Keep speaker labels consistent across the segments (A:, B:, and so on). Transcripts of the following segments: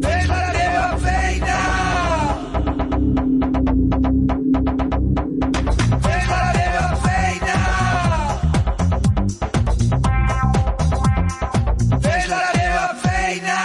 A: Fes la teva feina! Fes la teva feina! Fes la teva feina!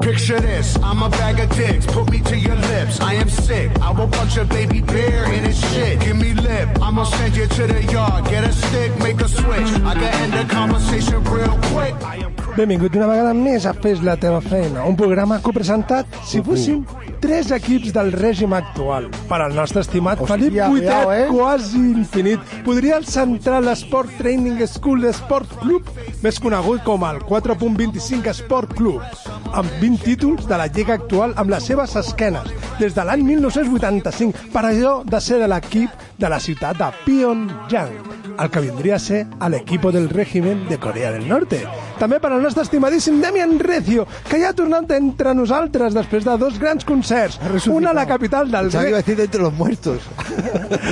B: Picture this, I'm a bag of dicks, put me to your lips. I am sick, I will punch a baby bear in his shit. Give me lip, I'ma send you to the yard, get a stick, make a switch. I can end the conversation real quick. I am
C: Benvingut una vegada més a Fes la teva feina, un programa copresentat si fóssim tres equips del règim actual. Per al nostre estimat
D: Hòstia,
C: Felip Vuitet,
D: cuidao, eh?
C: quasi infinit, podria el Central Sport Training School Sport Club, més conegut com el 4.25 Sport Club, amb 20 títols de la Lliga actual amb les seves esquenes, des de l'any 1985, per allò de ser de l'equip de la ciutat de Pyongyang, al que vindría a ser al equipo del régimen de Corea del Norte. També per al nostre estimadíssim Demian Recio, que ja ha tornat entre nosaltres després de dos grans concerts. Un a la capital del
D: Pensaba que iba a
C: rei...
D: decir dentro de los muertos.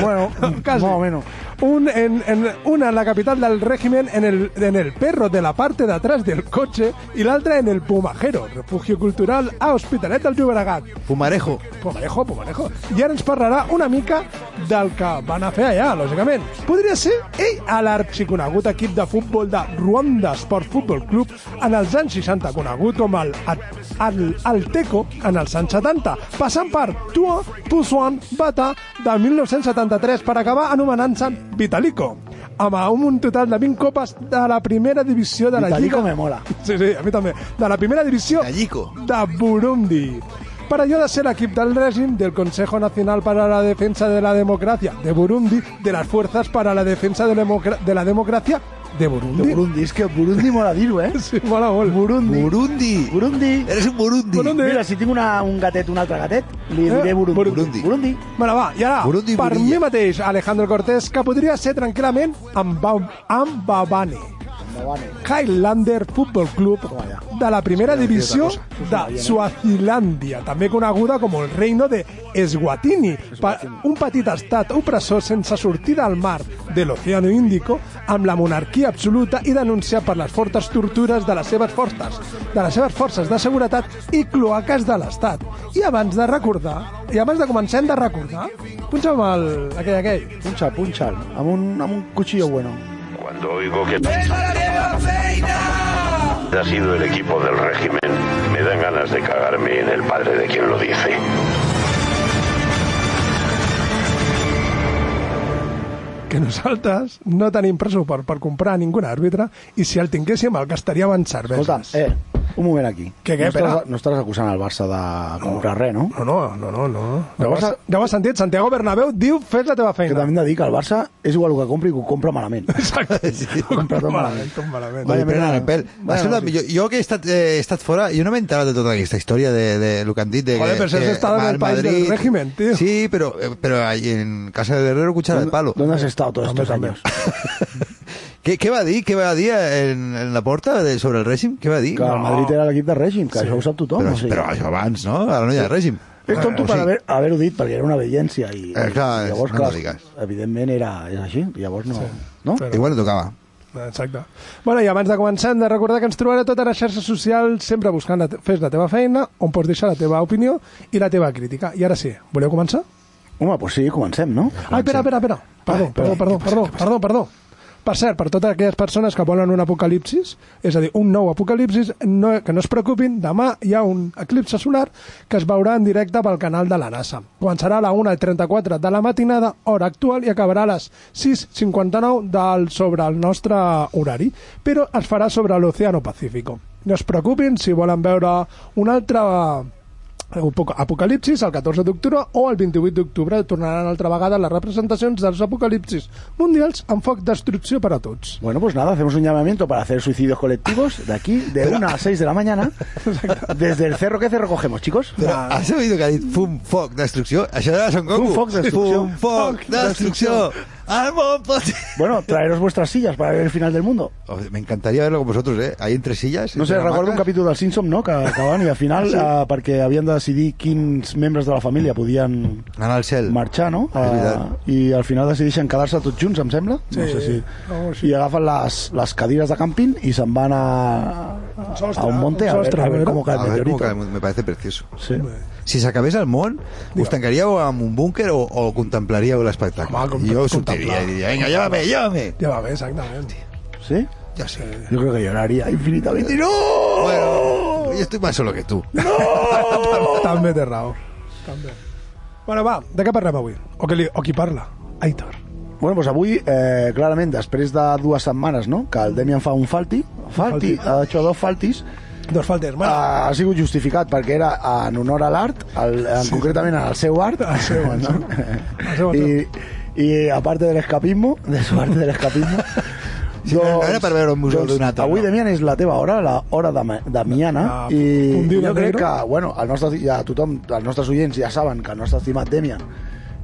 C: Bueno, casi.
E: más o menos.
C: Un en, en, una en la capital del régimen, en el, en el perro de la parte de atrás del coche, y la otra en el Pumajero, refugio cultural a Hospitalet del Llobregat.
D: Fumarejo.
C: Pomarejo, Pomarejo. I ara ens parlarà una mica del que van a fer allà, lògicament. Podria ser ell a l'arxiconegut equip de futbol de Ruanda Sport Football Club en els anys 60, conegut com el, el, el, Teco en els anys 70, passant per Tua, Pusuan, Bata de 1973 per acabar anomenant-se Vitalico amb un total de 20 copes de la primera divisió de la
E: Vitalico
C: Lliga...
E: me mola.
C: Sí, sí, a mi també. De la primera divisió
D: Gallico.
C: de Burundi. Para ayudar a ser equipo del régimen del Consejo Nacional para la Defensa de la Democracia de Burundi, de las Fuerzas para la Defensa de la, Democra- de la Democracia de Burundi.
E: De Burundi, es que Burundi mola dirlo, ¿eh?
C: Sí, mola molt.
E: Burundi.
D: Burundi.
E: Burundi.
D: Eres un Burundi.
C: Burundi.
E: Mira, si tinc una, un gatet, un altre gatet, li diré
C: Eh,
E: Burundi.
D: Burundi.
E: Burundi.
C: Bueno, va, i ara,
D: Burundi,
C: per
D: Burundilla.
C: mi mateix, Alejandro Cortés, que podria ser tranquil·lament Ambabane. Highlander Football Club de la primera divisió de Suazilàndia, també coneguda com el reino de Eswatini, pa- un petit estat opressor sense sortida al mar de l'Oceano Índico, amb la monarquia absoluta i denunciat per les fortes tortures de les seves forces, de les seves forces de seguretat i cloaques de l'Estat. I abans de recordar, i abans de començar hem de recordar, punxa'm el, aquell, aquell.
E: Puncha, puncha. A un, amb un cuchillo bueno.
F: Cuando oigo que
A: Fes la teva feina!
F: ha sido el equipo del régimen, me dan ganas de cagarme en el padre de quien lo dice.
C: que nosaltres no tenim pressupost per comprar ningun àrbitre i si el tinguéssim el gastaríem en
E: Escolta,
C: cerveses.
E: eh, un moment aquí.
C: Què, què,
E: no,
C: espera?
E: estàs, no estàs acusant el Barça de comprar res, no?
C: No, no, no, no. no. Ja,
E: El
C: ho has,
E: Barça-
C: ja ho has sentit, Santiago Bernabéu diu fes la teva
E: Que
C: feina.
E: també hem de dir que el Barça és igual el que compri i que ho compra malament.
C: Exacte.
D: Sí.
C: Ho compra
E: Tot
C: tot
E: malament.
C: malament, tot
D: Vale,
C: malament.
E: Vaya,
D: prenen
E: mira,
D: el pèl. Va
E: bueno,
D: ser una-
E: sí.
D: jo, jo que he estat, eh, he estat fora, jo no m'he enterat de tota aquesta història de, de lo que han dit. De,
C: Joder,
D: que-
C: però si has
D: que
C: estat en
D: va
C: el
D: al
C: país del régimen, tío.
D: Sí, pero, eh, pero ahí en casa de Herrero, cuchara de palo.
E: ¿Dónde has estado todos estos años?
D: ¿Qué, qué va a dir? ¿Qué va a dir en, en la porta de, sobre el règim? Què va dir?
E: Que el Madrid era l'equip de règim, que això ho sap tothom.
D: Però,
E: o sigui.
D: però això abans, no? Ara no hi ha règim.
E: És tonto
D: Eh, o
E: per
D: sigui,
E: haver, haver-ho dit, perquè era una evidència. I,
D: Eh, clar,
E: i llavors,
D: no
E: clar,
D: ho digues.
E: evidentment era, és així. Llavors no... no?
C: Però-
D: Igual no tocava.
C: Exacte. Bueno, i abans de començar hem de recordar que ens trobarà tota a totes les xarxes socials sempre buscant la te- fes la teva feina, on pots deixar la teva opinió i la teva crítica. I ara sí, voleu començar?
E: Home, doncs pues sí, comencem, no?
C: Ai, espera, espera, espera. Perdó,
E: Ai,
C: perdó,
E: perdó,
C: perdó, perdó, perdó, perdó. Per cert, per totes aquelles persones que volen un apocalipsis, és a dir, un nou apocalipsis, no, que no es preocupin, demà hi ha un eclipse solar que es veurà en directe pel canal de la NASA. Començarà a la 1.34 de la matinada, hora actual, i acabarà a les 6.59 del, sobre el nostre horari, però es farà sobre l'Oceano Pacífico. No es preocupin si volen veure un altre Eh, un poc Apocalipsis el 14 d'octubre o el 28 d'octubre tornaran altra vegada les representacions dels apocalipsis mundials amb foc destrucció per a tots.
E: Bueno, pues nada, hacemos un llamamiento para hacer suicidios colectivos de aquí, de 1 a 6 de la mañana, desde el cerro que cerro cogemos, chicos.
D: Però has sabut que ha dit fum, foc, destrucció? Això era Son Goku.
E: Fum, foc, destrucció.
D: Fum, foc,
E: Foc,
D: destrucció. Al món pot...
E: Bueno, traeros vuestras sillas para ver el final del mundo.
D: Home, Me encantaría verlo con vosotros, eh? Ahí entre sillas.
E: No sé,
D: entre
E: recordo un
D: hamaques.
E: capítol del Simpson, no?, que acabaven i al final, sí. eh, perquè havien de decidir quins membres de la família podien
D: Anar al cel.
E: marxar, no?
D: És veritat.
E: Eh, I al final decideixen quedar-se tots junts, em sembla. no sé si...
C: algo així.
E: I agafen les, les cadires de càmping i se'n van a, a,
C: sostre,
E: a un monte a,
C: un
E: veure,
C: sostre,
E: a veure
C: a
E: com cae
D: A
E: el
D: ver cómo
E: meteorito.
D: cae, me parece precioso.
E: Sí.
D: Si s'acabés el món, us tancaríeu en un búnquer o, o contemplaríeu l'espectacle?
C: Home, com-
D: Jo
C: contemplar.
D: sortiria i diria, vinga, llévame, llévame.
C: Ja va bé, exactament.
E: ¿Sí?
D: Ja sé.
E: Yo creo que lloraría infinitamente. ¡No!
D: Bueno, yo estoy más solo que tú.
C: També té raó. També. Bueno, va, de què parlem avui? O, que li, o qui parla? Aitor.
E: Bueno, doncs avui, eh, clarament, després de dues setmanes, no?, que el Demian fa un falti,
C: Falti.
E: falti, ha hecho dos faltis,
C: Dos faltes. Bueno,
E: Ah, ha, ha sigut justificat perquè era en honor a l'art, al- en- concretament al seu art,
C: Al seu art,
E: no?
C: Al seu art.
E: I, i a part de l'escapismo, de su arte de l'escapismo,
D: Sí, no era per veure un museu d'un altre,
E: doncs, Avui,
D: no?
E: Damián, és la teva hora, la hora de, Damiana,
C: Ah,
E: i
C: un dia
E: jo
C: de
E: crec
C: negro.
E: que, bueno, el nostre, ja tothom, els nostres oients ja saben que el nostre estimat Demian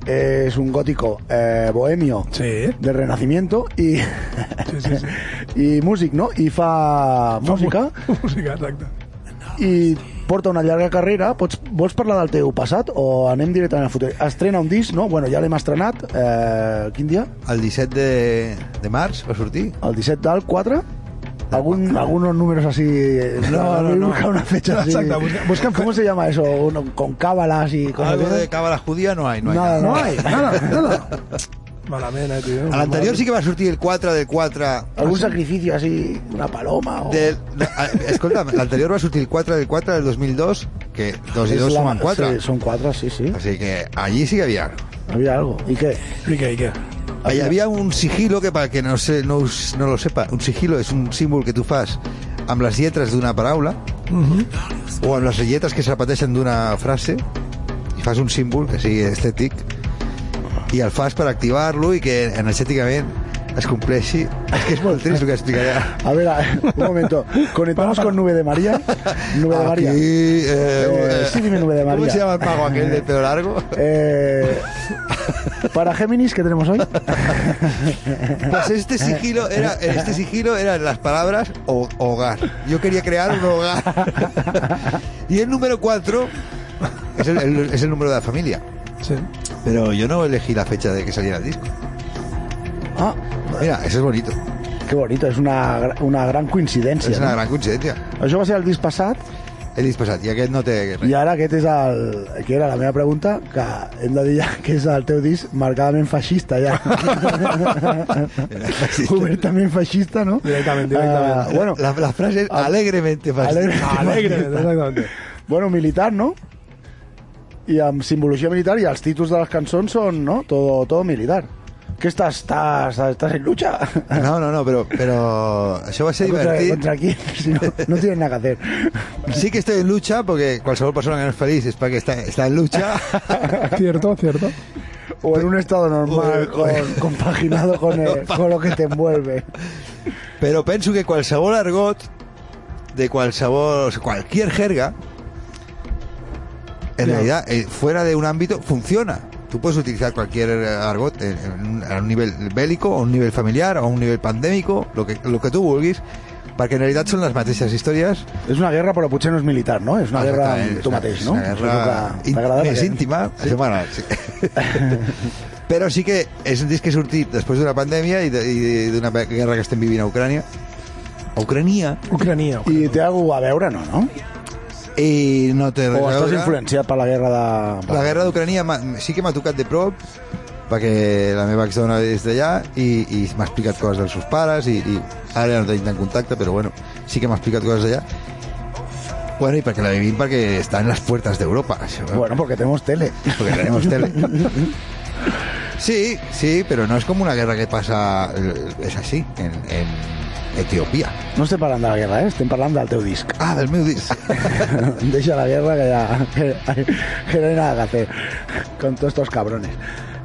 E: és un gótico eh, bohemio
C: Sí.
E: del Renacimiento i,
C: sí, sí.
E: i músic, no? I fa música
C: Música, exacte.
E: i porta una llarga carrera. Pots, vols parlar del teu passat o anem directament al futur? Estrena un disc, no? Bueno, ja l'hem estrenat. Eh, quin dia?
D: El 17 de, de març va sortir.
E: El 17 del 4? Algun, algunos números así
C: No, no, no.
E: busca una fecha así
C: Exacto, busca- busca-
E: ¿cómo se llama eso? Uno, con cábalas y cosas
D: Algo
E: de
D: de
E: esas.
D: cábala judía no hay, no hay.
E: Nada,
D: nada.
C: No hay, nada, nada. Malament, eh, tio.
D: A l'anterior sí que va sortir el 4 del 4...
E: algún sacrificio así una paloma o...
D: Del, no, a- escolta'm, l'anterior va sortir el 4 del 4 del 2002, que 2 i
E: Es
D: 2
E: la-
D: sumen 4.
E: sí, son cuatro sí, sí
D: Así que allí sí que había.
E: había algo ¿y qué?
C: I què, i què?
D: Ahí había un sigilo que para que no, se, no, us- no lo sepa, un sigilo és un símbol que tu fas amb les lletres d'una paraula o amb les lletres que es repeteixen d'una frase i fas un símbol que sigui estètic i el fas per activar-lo i que energèticament es compleixi. És que és molt trist el que explicaré. ara.
E: a ver, a ver, un momento conectamos con Nube de María Nube de María
D: Aquí, eh,
E: Eh, sí, dime nombre de
D: ¿Cómo
E: María.
D: se llama el pago aquel de pelo largo?
E: Eh, para Géminis, ¿qué tenemos hoy?
D: Pues este sigilo era, este sigilo eran las palabras ho- hogar. Yo quería crear un hogar. Y el número 4 es el, el- es el número de la familia.
C: Sí.
D: Pero yo no elegí la fecha de que saliera el disco.
E: Ah,
D: Mira, eso es bonito.
E: qué bonito, es una, gra- una gran coincidència.
D: Es una
E: no?
D: gran coincidencia.
E: Això va ser el disc passat
D: El disco es así, que no te...
E: i ara aquest és el... que era la meva pregunta, que hem de dir ja que és el teu disc marcadament feixista, ja.
D: Fascista.
E: Obertament feixista, no?
C: Directament, directament.
E: Ah, bueno,
D: la, la frase es alegremente fascista.
E: alegre.
C: Alegre, exactament.
E: bueno, militar, no? I amb simbologia militar i els títols de les cançons són, no? Todo, todo militar. Que estàs, estàs, estàs en lucha.
D: No, no, no, pero, pero eso va a ser
E: contra,
D: divertido.
E: contra quién, si no, no tienes nada que hacer.
D: Sí que estoy en lucha, porque cualquier persona que no es feliz es para que está, está en lucha.
C: Cierto, cierto.
E: O en un estado normal, con, compaginado con, el- con lo que te envuelve.
D: Però penso que qualsevol argot de qualsevol... o sea, Cualquier jerga en realidad, eh, fuera de un ámbito, funciona. Tú puedes utilizar cualquier eh, argot en, en un, a un nivel bélico, o un nivel familiar, o un nivel pandémico, lo que, lo que tú vulguis, perquè en realitat són les mateixes històries.
E: És una guerra, però potser no és militar, no? És una guerra
D: Exactament,
E: amb
D: és
E: tu
D: una-
E: mateix,
D: és
E: no?
D: Una
E: Això és
D: guerra
E: el que
D: in-
E: t'agrada,
D: més
E: perquè-
D: íntima. Sí. Bueno, sí. Però sí que és un disc que ha sortit després d'una pandèmia i de- i d'una guerra que estem vivint a Ucrània. A Ucrania
C: Ucrania.
E: I té alguna a veure, no, no?
D: i eh, no té res
E: O
D: a
E: estàs
D: veure.
E: influenciat per la guerra de...
D: La guerra d'Ucrania m'ha- sí que m'ha tocat de prop perquè la meva exdona és d'allà i, i m'ha explicat coses dels seus pares i, i ara ja no tenim tant contacte però bueno, sí que m'ha explicat coses d'allà bueno, i perquè la vivim perquè està en les puertes d'Europa això, eh? no?
E: Bueno, porque tenemos tele.
D: porque tenemos tele sí, sí, pero no es como una guerra que pasa eh, es así en, en, Etiopia.
E: No estem parlant de la guerra, eh? Estem parlant del teu disc.
D: Ah, del meu disc.
E: Deixa la guerra que ya que, que no hay nada que hacer con todos estos cabrones.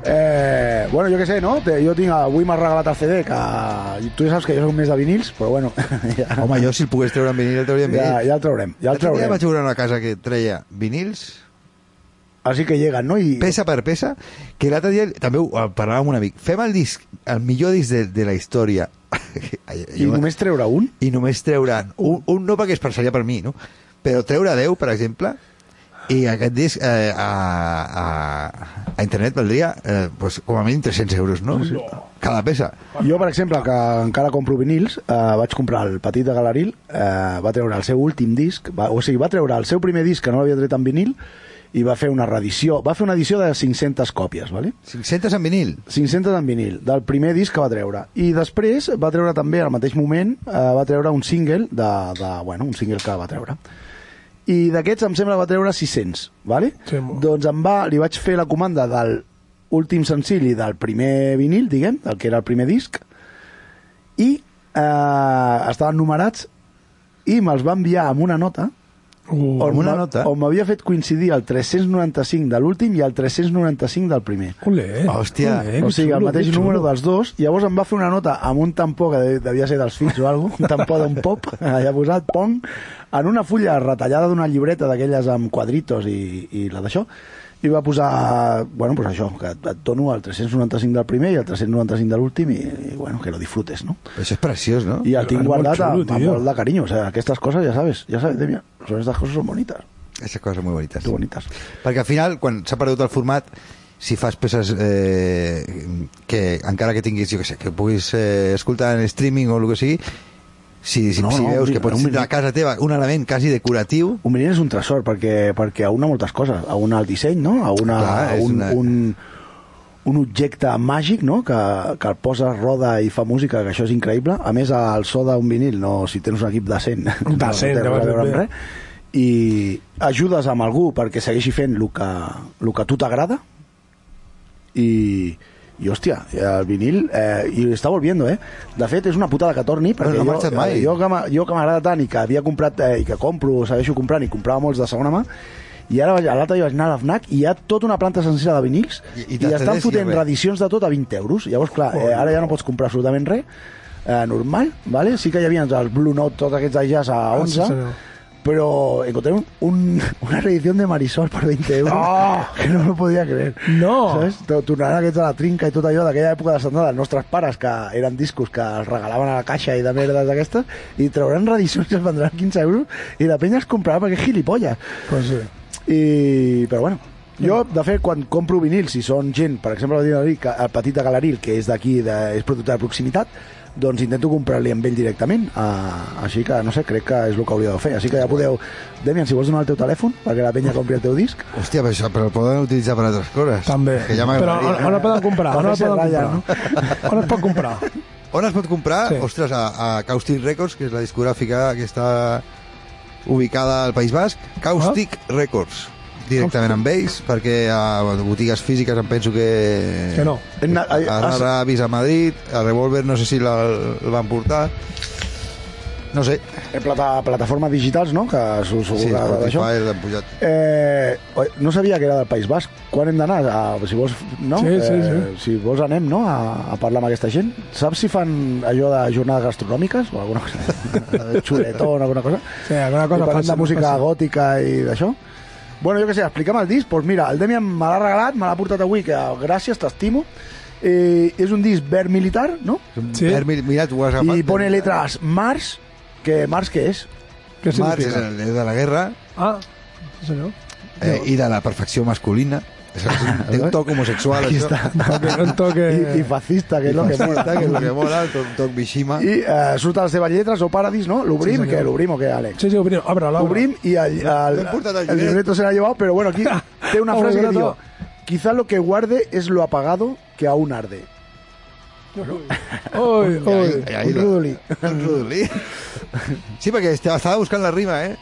E: Eh, bueno, yo qué sé, ¿no? Te, jo tinc avui m'has regalat el CD, que eh, tu ja saps que jo soc més de vinils, però bueno, ja,
D: Home, jo si el pogués treure en vinil el trauria en
E: ja,
D: vinil.
E: ja el traurem, ja el
D: L'altre dia
E: traurem.
D: vaig veure una casa que treia vinils,
E: Així que lleguen, no? I,
D: peça per peça, que l'altre dia també ho ho parlava amb un amic. Fem el disc, el millor disc de, de la història.
E: I només treure un?
D: I només treuran un, un no perquè es pensaria per mi, no? Però treure 10, per exemple, i aquest disc eh, a, a, a internet valdria eh, pues, com a mínim 300 euros, no? Cada peça.
E: Jo, per exemple, que encara compro vinils, eh, vaig comprar el petit de Galaril, eh, va treure el seu últim disc, va, o sigui, va treure el seu primer disc, que no l'havia tret en vinil, i va fer una reedició, va fer una edició de 500 còpies, ¿vale?
D: 500 en vinil.
E: 500 en vinil, del primer disc que va treure. I després va treure també, al mateix moment, eh, va treure un single, de, de, bueno, un single que va treure. I d'aquests em sembla que va treure 600, ¿vale?
C: Sí, molt.
E: doncs em va, li vaig fer la comanda del últim senzill i del primer vinil, diguem, del que era el primer disc, i eh, estaven numerats i me'ls va enviar amb una nota
C: Uh,
E: on,
D: amb una
E: m'ha-
D: nota?
E: on m'havia fet coincidir el 395 de l'últim i el 395 del primer.
C: Olé.
D: Hòstia.
C: Olé, que
E: o sigui, el
C: xulo,
E: mateix
C: que xulo.
E: número dels dos. Llavors em va fer una nota amb un tampó que de- devia ser dels fills o alguna cosa, un tampó d'un pop, allà posat, pong, en una fulla retallada d'una llibreta d'aquelles amb quadritos i, i la d'això, i va posar, bueno, pues això, que et, et dono el 395 del primer i el 395 de l'últim i, i, bueno, que lo disfrutes, no?
D: Això és preciós, no?
E: I el tinc
C: És molt
E: guardat
C: xulo,
E: amb, amb
C: tio.
E: molt de carinyo, o sigui, aquestes coses ja sabes, ja sabes, Demian, són aquestes coses són bonites,
D: Aquestes coses molt bonites.
E: tu bonites.
D: Perquè al final, quan s'ha perdut el format, si fas peces eh, que encara que tinguis, jo que sé, que puguis eh, escoltar en streaming o el que sigui, si, si,
E: No,
D: no, si
E: no,
D: veus
E: un
D: que
E: vinil,
D: pots
E: un
D: tindre a
E: vinil.
D: casa teva un element quasi decoratiu,
E: Un vinil és un tresor perquè, perquè aúna moltes coses. Aúna el disseny, no? Aúna
D: Clar, és
E: un,
D: una-
E: un, un objecte màgic no? que, que el posa, roda i fa música, que això és increïble. A més, el so d'un vinil, no, si tens un equip decent, no, no té
C: Decent,
E: res a
C: llavors,
E: veure amb
C: bé.
E: res. I ajudes amb algú perquè segueixi fent el que, el que a tu t'agrada, i, i hòstia, el vinil eh, i està volviendo, eh? De fet, és una putada que torni, perquè
D: no ha
E: jo, eh,
D: marxat mai.
E: jo, que m'ha- jo que m'agrada tant i que havia comprat eh, i que compro, segueixo comprant i comprava molts de segona mà, i ara vaig- l'altre dia vaig anar a la FNAC i hi ha tota una planta sencera de vinils
D: I- i
E: i, i,
D: t'has de
E: estan
D: decidir,
E: fotent
D: bé.
E: reedicions de tot a 20 euros. Llavors, clar, eh, ara ja no pots comprar absolutament res eh, normal, ¿vale? sí que hi havia els Blue Note, tots aquests de jazz a 11,
C: sí, senyor.
E: però encontré un, un, una reedición de Marisol per 20 euros
D: Oh!
C: No!
E: que no m'ho podia creer.
C: No!
E: Saps? To- Tornant aquests a la trinca i tot allò d'aquella època de Santana, dels nostres pares, que eren discos que els regalaven a la caixa i de merdes d'aquestes, i trauran reedicions i els vendran 15 euros i la penya els comprarà perquè és gilipolles.
C: Pues sí.
E: I, però bueno, jo, de fet, quan compro vinils, si són gent, per exemple, el Galeril, que- el petit de Galeril, que és d'aquí, de, és producte de proximitat, doncs intento comprar-li amb ell directament. Uh, així que, no sé, crec que és el que hauria de fer. Així que ja podeu... Demian, si vols donar el teu telèfon perquè la penya compri el teu disc...
D: hòstia, però, això, però el poden utilitzar per altres coses.
C: També.
D: Que ja
C: Però on,
D: m'agradaria. eh?
C: on el poden comprar?
E: Va
C: On el
E: fer-se
C: poden
E: ratlla,
C: comprar? On es pot comprar?
D: On es pot comprar?
C: Sí.
D: Sí. Ostres, a, a Caustic Records, que és la discogràfica que està ubicada al País Basc. Caustic
C: Ah.
D: Records, directament amb ells, perquè a botigues físiques em penso que...
C: Que no.
E: Hem anat-
D: A, a,
E: has-
D: a, a Madrid, a Revolver no sé si la, el van portar. No sé,
E: eh, plata, plataformes digitals, no?, que s'ho s'ho-
D: sí,
E: que- d'això.
D: Spotify l'han pujat.
E: Eh, oi, no sabia que era del País Basc. Quan hem d'anar? A- Si vols, no?
C: Sí, sí,
E: Eh, si vols anem, no?, a, a parlar amb aquesta gent. Saps si fan allò de jornades gastronòmiques o alguna cosa? Xuletón, alguna cosa?
C: Sí, alguna cosa
E: I parlem
C: fàcil,
E: de música
C: fàcil.
E: gòtica i d'això? Bueno, jo què sé, explica'm el disc. Doncs mira, el Demian me l'ha regalat, me l'ha portat avui, que gràcies, t'estimo. Eh, és un disc verd militar, no?
C: Sí?
D: Ver, mi- Mira, tu ho has agafat.
E: I pone letras Mars, que Mars què és?
C: Què
D: Mars és
C: significa?
D: el de la guerra
C: Ah, sí senyor.
D: eh, i de la perfecció masculina. És un, té un toc homosexual,
E: Aquí
D: això.
E: Ah, està.
C: Toque, un toque...
E: I, i fascista, que és el que mola.
D: Està, Eh, que és el que mola, el toc, toc Mishima.
E: I eh, surt a les seves lletres o Paradis, no? L'obrim,
C: Sí, senyor.
E: que l'obrim o què, Àlex?
C: Sí, sí, obrim. Obre, l'obre.
E: Obrim y al, al-
D: No importa, no,
E: el
D: el
E: libreto se lo ha llevado, pero bueno, aquí tengo una
C: Ah,
E: frase que
C: libreto.
E: digo, quizá lo que guarde es lo apagado que aún arde.
C: Oi,
D: I
C: oi.
D: ahí- ahí
E: un
D: la-
E: Rudolí.
D: Un Rudolí. Sí, perquè est- estava buscant la rima, eh?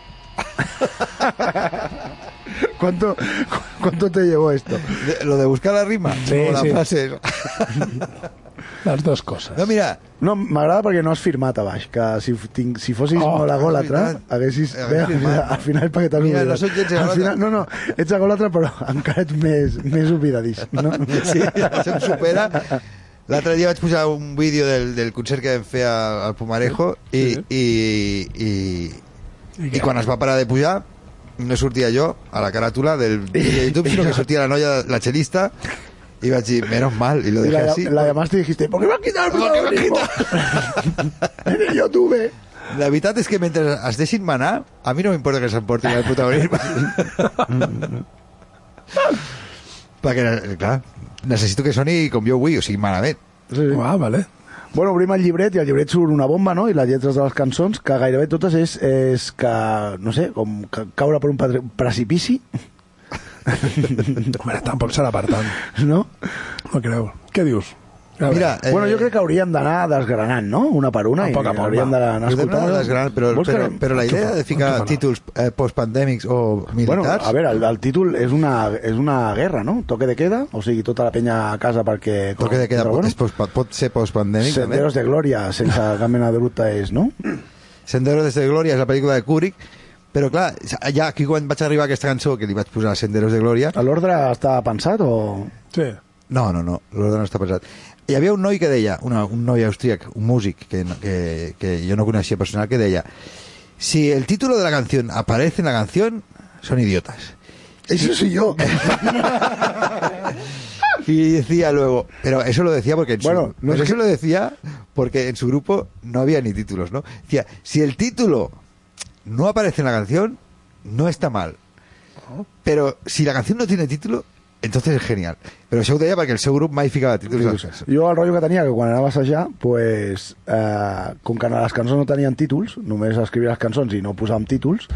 E: ¿Cuánto, cuánto te llevó esto?
D: De- lo de buscar la rima.
C: Sí,
D: no, la
C: sí.
D: frase.
C: les dues coses.
D: No, mira,
E: No, m'agrada perquè no has firmat a baix, que si, f- tinc, si fossis
C: Oh,
E: oh, molt agòlatra,
D: és veritat.
E: haguessis...
D: Hagués
E: Bé, al, final,
D: firmat.
E: al final perquè t'has
D: Mira,
E: oblidat.
D: no sóc gens
E: Al
D: agòlatra.
E: final, no, no, ets agòlatra però encara ets més, més oblidadís. No?
D: sí, això em supera. L'altre dia vaig posar un vídeo del, del concert que vam fer al, al Pomarejo i, i, i, i, i quan es va parar de pujar no sortia jo a la caràtula del vídeo de YouTube, sinó que sortia la noia, la xelista, i vaig dir, menos mal, i lo
E: Y
D: dejé
E: la,
D: así.
E: la demás te dijiste, ¿por qué me has quitado el protagonismo? en el YouTube.
D: La veritat és que mentre es deixin manar, a mi no m'importa que s'emportin el protagonisme. Perquè, eh, clar, necessito que soni com jo vull, o sigui, malament.
E: Sí, sí.
C: Ah, vale.
E: Bueno, obrim el llibret i al llibret surt una bomba, no? I les lletres de les cançons, que gairebé totes és, és que, no sé, com ca caure per un patre- precipici,
C: Home, tampoc serà per tant.
E: no?
C: No creu. Què dius? A veure.
D: Mira,
E: Eh... Bueno, jo crec que hauríem d'anar desgranant, no? Una per una,
C: A
E: i
C: poc a poc,
E: hauríem
C: va.
E: d'anar
D: Podem anar
E: escoltant.
D: desgranant, però,
E: Vols que
D: però,
E: anem?
D: però la idea de
C: Què
D: ficar
C: fan?
D: títols eh, postpandèmics o
E: Bueno,
D: militars...
E: a veure, el, el títol és una, és una guerra, no? Toque de queda, o sigui, tota la penya a casa perquè...
D: toque de queda
E: però
D: pot, és post, pot ser postpandèmic, també.
E: Senderos de glòria, sense cap mena de dubte és, no?
D: Senderos de Glòria és la pel·lícula de Kubrick, però clar, ja aquí quan vaig arribar a aquesta cançó que li vaig posar Senderos de Glòria...
E: L'ordre està pensat o...
C: Sí.
D: No, no, no, l'ordre no està pesat. Hi havia un noi que deia, una, un noi austríac, un músic que, no- que, que jo no coneixia personal, que deia si el título de la canción aparece en la canción, son idiotas.
E: Eso soy yo.
D: Y decía luego, pero eso lo decía porque en su,
E: Bueno, no
D: pero
E: es
D: eso lo decía porque en su grupo no había ni títulos, ¿no? Decía, si el título no aparece en la canción, no está mal.
E: Oh.
D: Pero si la canción no tiene título, entonces es genial. Pero això ho deia perquè el seu grup mai ficava títols. a les cançons.
E: Jo el rotllo que tenia, que quan anava a assajar, pues, eh, com que les cançons no tenien títols, només escrivia les cançons i no posàvem títols,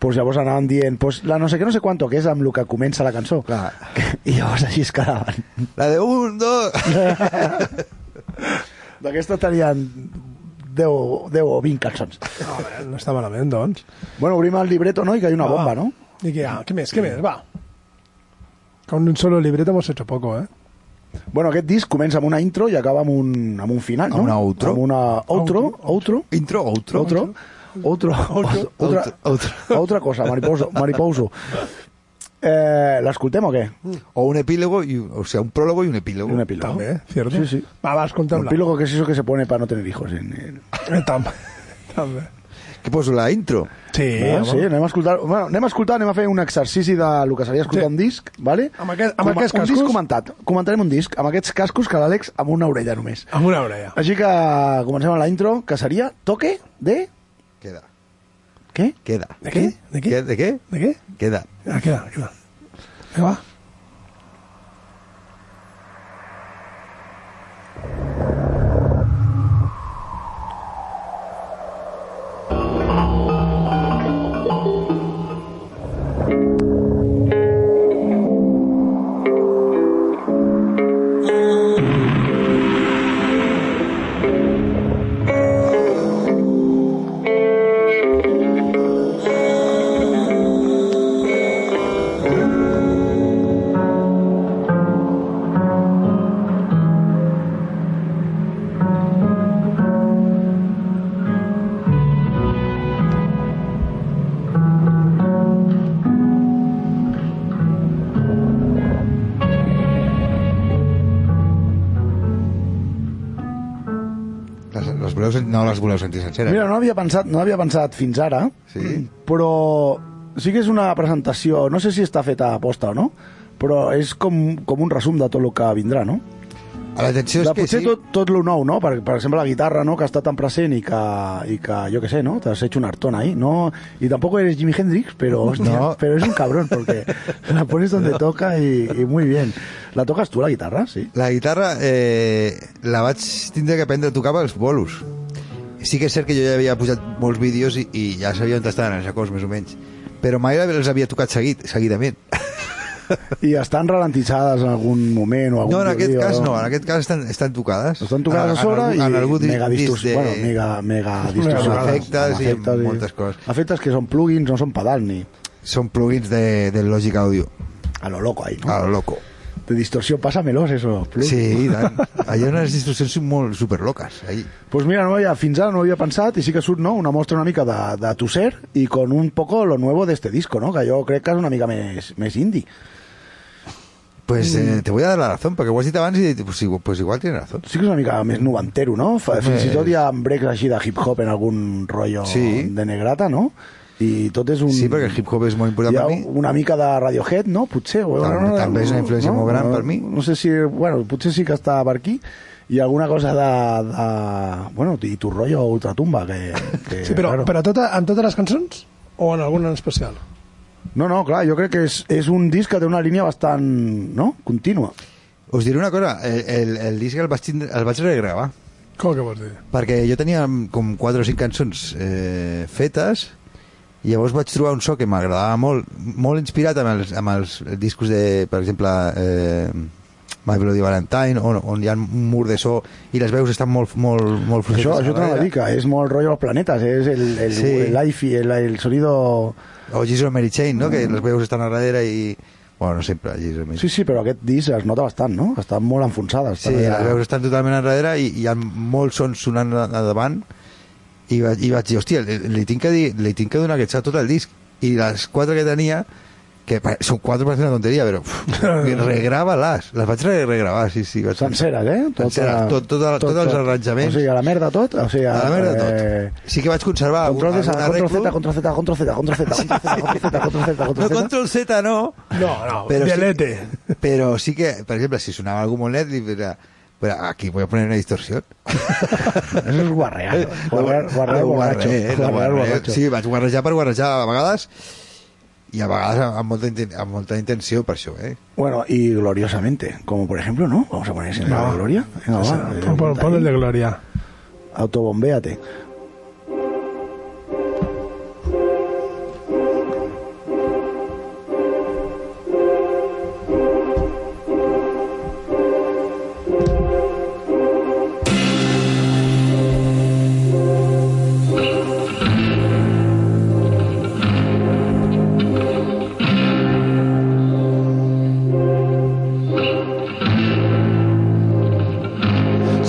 E: pues llavors anàvem dient pues, la no sé què, no sé quanto, que és amb el que comença la cançó.
D: Clar.
E: I llavors així es quedaven.
D: La de un, dos...
E: D'aquesta tenien 10, 10 o 20 cançons.
C: A veure, no està malament, doncs.
E: Bueno, obrim el libreto, no? I que hi ha una
D: Ah.
C: Va,
E: bomba,
C: va.
E: no?
C: I què, ah, què més, què més, va. Con un solo libreto hemos hecho poco, eh?
E: Bueno, aquest disc comença amb una intro i acaba amb un, amb un final, no?
D: Amb una outro.
E: Amb una outro, outro,
D: Intro, outro.
E: outro, outro, outro,
D: Outro, outro.
E: Otra cosa, mariposo, mariposo. Eh, L'escoltem o què?
C: Mm,
D: O un epílogo, y, un- o sea, un prólogo y un epílogo.
E: Un epílogo.
C: També, cierto?
E: Sí, sí.
C: Va, vas,
E: Un
C: contempla.
E: epílogo que es eso que se pone para no tener hijos. En el...
C: Eh, tam- també.
D: ¿Qué poso? pues, La intro.
C: Sí,
E: Eh,
C: home.
E: sí, anem a escoltar, bueno, anem a escoltar, anem a fer un exercici de lo que seria escoltar
C: Sí.
E: sí. un disc, vale?
C: Amb aquest- amb aquests
E: un
C: cascos?
E: disc comentat. Comentarem un disc amb aquests cascos que l'Àlex amb una orella només.
C: Amb una orella.
E: Així que comencem amb la intro, que seria Toque de...
D: Queda.
E: Què?
D: Queda.
C: ¿De qué? ¿De qué?
D: ¿De qué?
C: ¿De qué?
D: Queda.
C: Ah, queda, queda. Vinga, va.
D: Las, los voleu sen- no las voleu sentir senceres.
E: Mira, no havia pensat, no havia pensat fins ara,
D: Sí.
E: però sí que és una presentació, no sé si està feta a posta o no, però és com, com un resum de tot el que vindrà, no?
D: A l'atenció és
E: De
D: que
E: potser
D: sí.
E: tot, tot lo nou, no? Per, per exemple, la guitarra, no?, que està tan present i que, i que jo què sé, no?, t'has hecho un hartón ahí, no? I tampoc eres Jimi Hendrix, però, hòstia,
D: No.
E: però és un cabrón, perquè la pones donde toca i, i muy bien. La toques tu, la guitarra, sí?
D: La guitarra eh, la vaig tindre que aprendre a tocar pels bolos. Sí que és cert que jo ja havia posat molts vídeos i, i ja sabia on estaven els acords, més o menys. Però mai els havia tocat seguit, seguidament.
E: I estan ralentitzades en algun moment o algun
D: No, en aquest
E: violí o-
D: cas no, en aquest cas estan, estan tocades.
E: Estan tocades a sobre
D: algú-
E: i
D: algú di-
E: mega
D: disc
E: distorsions.
D: de-
E: Bueno, mega, mega distorsions.
C: tocades.
D: Efectes i moltes coses.
E: Efectes que són plugins, no són pedals ni
D: Són plugins de, del Logic Audio.
E: a lo loco ahí, no?
D: A lo loco.
E: de distorsión, pásamelos, eso. Plus.
D: Ah. Sí, i tant. Allà hi ha unes instruccions molt superloques. Ahí.
E: Pues mira, no había, fins ara no había pensado y sí que surt no? una muestra una mica de, de tu ser y con un poco lo nuevo de este disco, no? que yo creo que es una mica més, més indie.
D: Pues
E: Mm.
D: eh, te voy a dar la razón, perquè ho has dit abans i pues, igual, pues igual tienes razón.
E: Sí que és una mica més noventero, no? Fa- Fins i tot hi ha breaks així de hip-hop en algun rotllo
D: Sí.
E: de negrata, no? I tot és un...
D: Sí, perquè el hip-hop és molt important
E: Hi ha
D: per mi.
E: una mica de Radiohead, no? Potser. O,
D: Tam-
E: no, no,
D: també és una influència molt gran
E: no,
D: per mi.
E: No sé si... Bueno, potser sí que està per aquí. I alguna cosa de... de bueno, i tu rotllo ultratumba, que... que
C: Sí, però,
E: claro.
C: però tota, en totes les cançons o en alguna en especial?
E: No, no, clar, jo crec que és, és un disc que té una línia bastant... No? Contínua.
D: Us diré una cosa, el, el, el disc el vaig, tindre, el vaig regravar,
C: Com que vols dir?
D: perquè jo tenia com 4 o 5 cançons eh, fetes, i llavors vaig trobar un so que m'agradava molt, molt inspirat amb els, amb els discos de, per exemple, eh, My Bloody Valentine, on, on hi ha un mur de so i les veus estan molt, molt, molt fluixetes
E: Això, això
D: a
E: t'ho
D: darrere.
E: dedica, és molt rotllo los planetes, és el, el,
D: Sí.
E: el, hi-fi, el, el sonido...
D: O Jesus and Mary Chain, no? que les veus estan a darrere i... Bueno, no sempre, Jesus and Mary
E: Sí, sí, però aquest disc es nota bastant, no? Està molt enfonsada.
D: Sí, les veus estan totalment enrere i hi ha molts sons sonant a a davant i, va, i vaig dir, hòstia, li, li, tinc que dir, li tinc que donar aquest xat tot el disc i les quatre que tenia que pa- són quatre per fer una tonteria però pff, regrava-les les vaig re- regravar sí, sí, vaig...
E: Senceres, eh?
D: Senceres, tot- tot el- tots els arranjaments.
E: O sigui, a la merda tot. O sigui,
D: a la merda tot sí que vaig conservar
E: eh, Control, de,
D: algun
E: control Z,
D: arreglo.
E: control Z, control Z, control Z, control Z, control Z, control Z, control
D: no,
E: Z.
D: control Z no
C: No, no,
D: Pero sí-
C: delete.
D: Pero sí que, por ejemplo, si sonaba algún monet, era, pero aquí voy a poner una distorsión.
E: Eso es guarrear. Guarrear, guarrear,
D: Ho
E: borracho.
D: Eh, guarré, no
E: Guarrear,
D: guarré.
E: borracho.
D: Sí, vaig guarrejar per guarrejar a vegades i a vegades amb- amb molta, inten- amb molta intenció per això, eh?
E: Bueno, y gloriosamente, como por ejemplo, ¿no? Vamos a poner siempre la gloria. Venga, va, eh,
C: Pon- pon- Pon el de Gloria.
E: Autobombéate.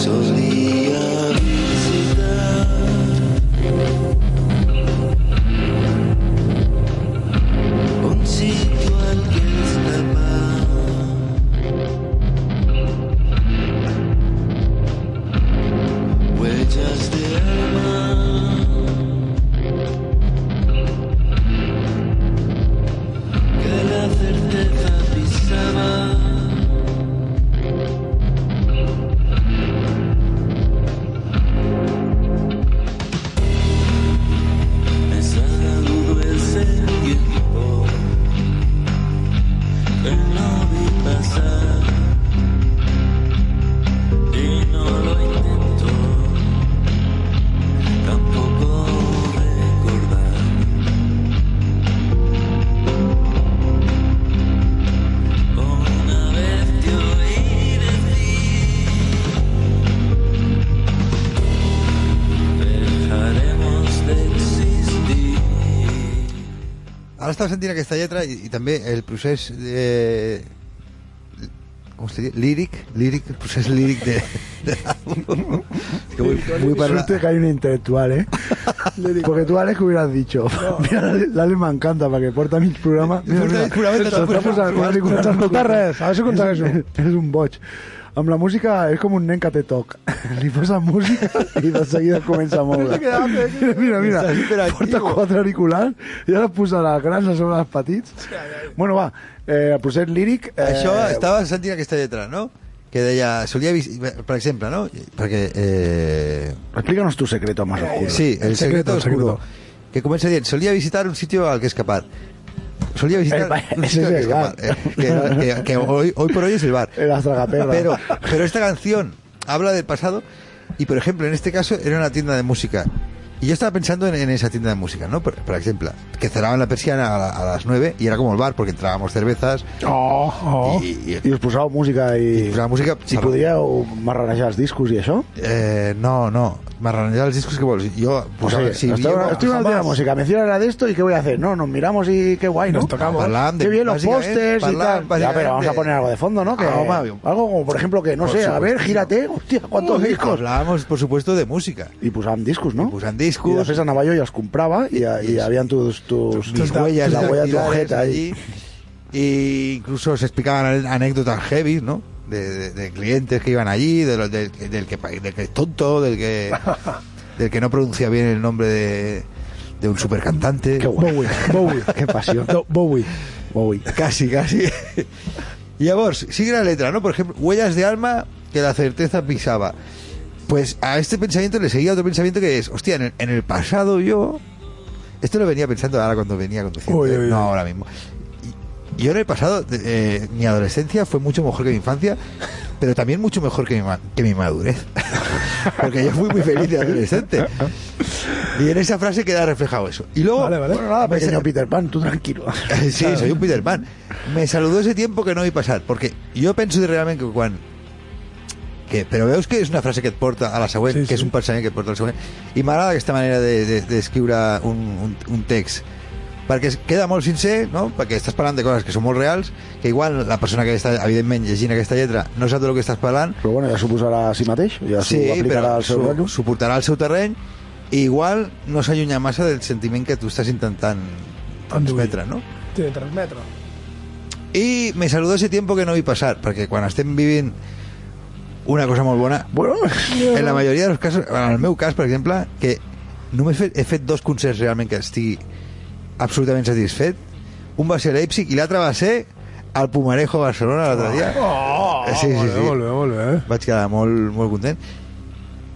G: Solía visitar un sitio al que escapar, huellas de alma, que la certeza pisaba. Desagudo ese tiempo que lo vi pasar y no lo intento tampoco recordar. Una vez te oí decir dejaremos de existir.
D: Ara estava sentint aquesta lletra i, i també el procés de... Com se diu? Líric? Líric, el procés líric de... de l'àlbum. que vull, vull parlar...
E: Suerte que hay un intelectual, ¿eh? Le digo, Porque tú, Alex, que hubieras dicho. Mira, Alex me encanta, para que porta mis programas. Mira,
D: Porta
E: mira,
D: mis programes, te'ls
E: estamos
D: posa-
E: al- al-
C: No escolta res, a veure si aconsegueix
E: És,
C: un.
E: és un boig. Amb la música és com un nen que té toc. Li posa música i de seguida comença a moure. Mira, mira,
D: Estàs
E: mira.
D: hiperactiu.
E: porta quatre auriculars i ara posa les grans a sobre els petits. Bueno, va, eh, el procés líric... Eh,
D: Això estava sentint aquesta lletra, no? Que deia... Solia... vis- Per exemple, no? Perquè... Eh,
E: Explícanos tu secreto más oscuro.
D: Sí, el,
C: El
D: secreto,
C: secreto, el
D: oscuro.
C: secreto.
D: Que comienza bien. Solía visitar un sitio al que escapar. Solía visitar
E: El ba-
D: un
E: Eh, ese
D: sitio al que
E: es el
D: escapar.
E: bar.
D: Eh, que que- que hoy, hoy por hoy es el bar.
E: El astragaperra.
D: Pero, pero esta canción habla del pasado y, por ejemplo, en este caso era una tienda de música. Y yo estaba pensando en, en esa tienda de música, ¿no? Por, por ejemplo, que cerraban la persiana a, la- a las 9 y era como el bar porque entrábamos cervezas
C: Oh, oh.
D: y, y-
E: I us posau música
D: y
E: i...
D: la música...
E: Si podíeu marranejar els discos i això?
D: Eh, no, no. Marranejar els discos que pues, vols. Jo posava...
E: Pues Sí, hasta ahora- estoy una tía de música, me hicieron la de esto y qué voy a hacer. No, nos miramos y qué guay, ¿no?
C: Nos tocamos.
D: Parlàvem de-
E: Qué bien los
D: básicamente,
E: pósters y
D: parlàvem
E: tal. Ya, pero vamos a poner algo de fondo, ¿no? Que,
D: Ah, home,
E: algo como, por ejemplo, que no
D: Por
E: sé, a ver,
D: supuesto.
E: gírate, hostia, cuántos discos.
D: Hablábamos, por supuesto, de música.
E: Y pusieron discos, ¿no?
D: Pusieron
E: Y
D: discos,
E: después andaba yo y los compraba y, y habían tus, tus,
D: mis huellas,
E: la huella de tu
D: dactilares
E: ojeta ahí.
D: allí. Y incluso se explicaban anécdotas heavy, ¿no? De, de- de clientes que iban allí, de los- del, del que, del que es tonto, del que, del que no pronuncia bien el nombre de, de un supercantante.
E: Qué guay.
C: Bowie, Bowie.
E: Qué pasión.
C: No, Bowie.
E: Bowie.
D: Casi, casi. Y a vos, sigue la letra, ¿no? Por ejemplo, huellas de alma que la certeza pisaba. Pues a este pensamiento le seguía otro pensamiento que es, hostia, en el, en el pasado yo... Esto lo venía pensando ahora cuando venía conduciendo,
C: Uy,
D: ¿eh?
C: uy, uy.
D: no ahora mismo. Y- Yo en el pasado, eh, mi adolescencia fue mucho mejor que mi infancia, pero también mucho mejor que mi, ma- que mi madurez. Porque yo fui muy feliz de adolescente. Y en esa frase queda reflejado eso. Y luego...
C: Vale, vale.
E: Bueno, nada,
D: me
E: pequeño
D: sa-
E: Peter Pan, tú tranquilo.
D: Sí, soy un Peter Pan. Me saludó ese tiempo que no vi passat, perquè jo penso realment que quan... Que, però veus que és una frase que et porta a la següent,
C: Sí,
D: sí, sí. que és
C: sí.
D: un pensament que et porta al següent, i m'agrada aquesta manera de- de- d'escriure de, de un, un, un text, perquè es queda molt sincer, no? perquè estàs parlant de coses que són molt reals, que igual la persona que està, evidentment, llegint aquesta lletra no sap del que estàs parlant,
E: Però bueno, ja s'ho posarà a si mateix, ja s'ho
D: sí,
E: aplicarà
D: però
E: al seu
D: s'ho-
E: rotllo.
D: s'ho portarà al seu terreny, i igual no s'allunya massa del sentiment que tu estàs intentant
C: Enduir.
D: transmetre, no?
C: Té transmetre.
D: I me saludó ese tiempo que no vi passar, perquè quan estem vivint una cosa molt bona,
E: Bueno,
D: en la majoria dels casos, en el meu cas, per exemple, que només he fet, he fet dos concerts realment que estigui absolutament satisfet, un va ser a Leipzig i l'altre va ser al Pumarejo a Barcelona l'altre dia.
C: Oh,
D: Sí, sí,
C: molt
D: sí.
C: bé, molt bé, eh? molt bé.
D: Vaig quedar molt, molt content.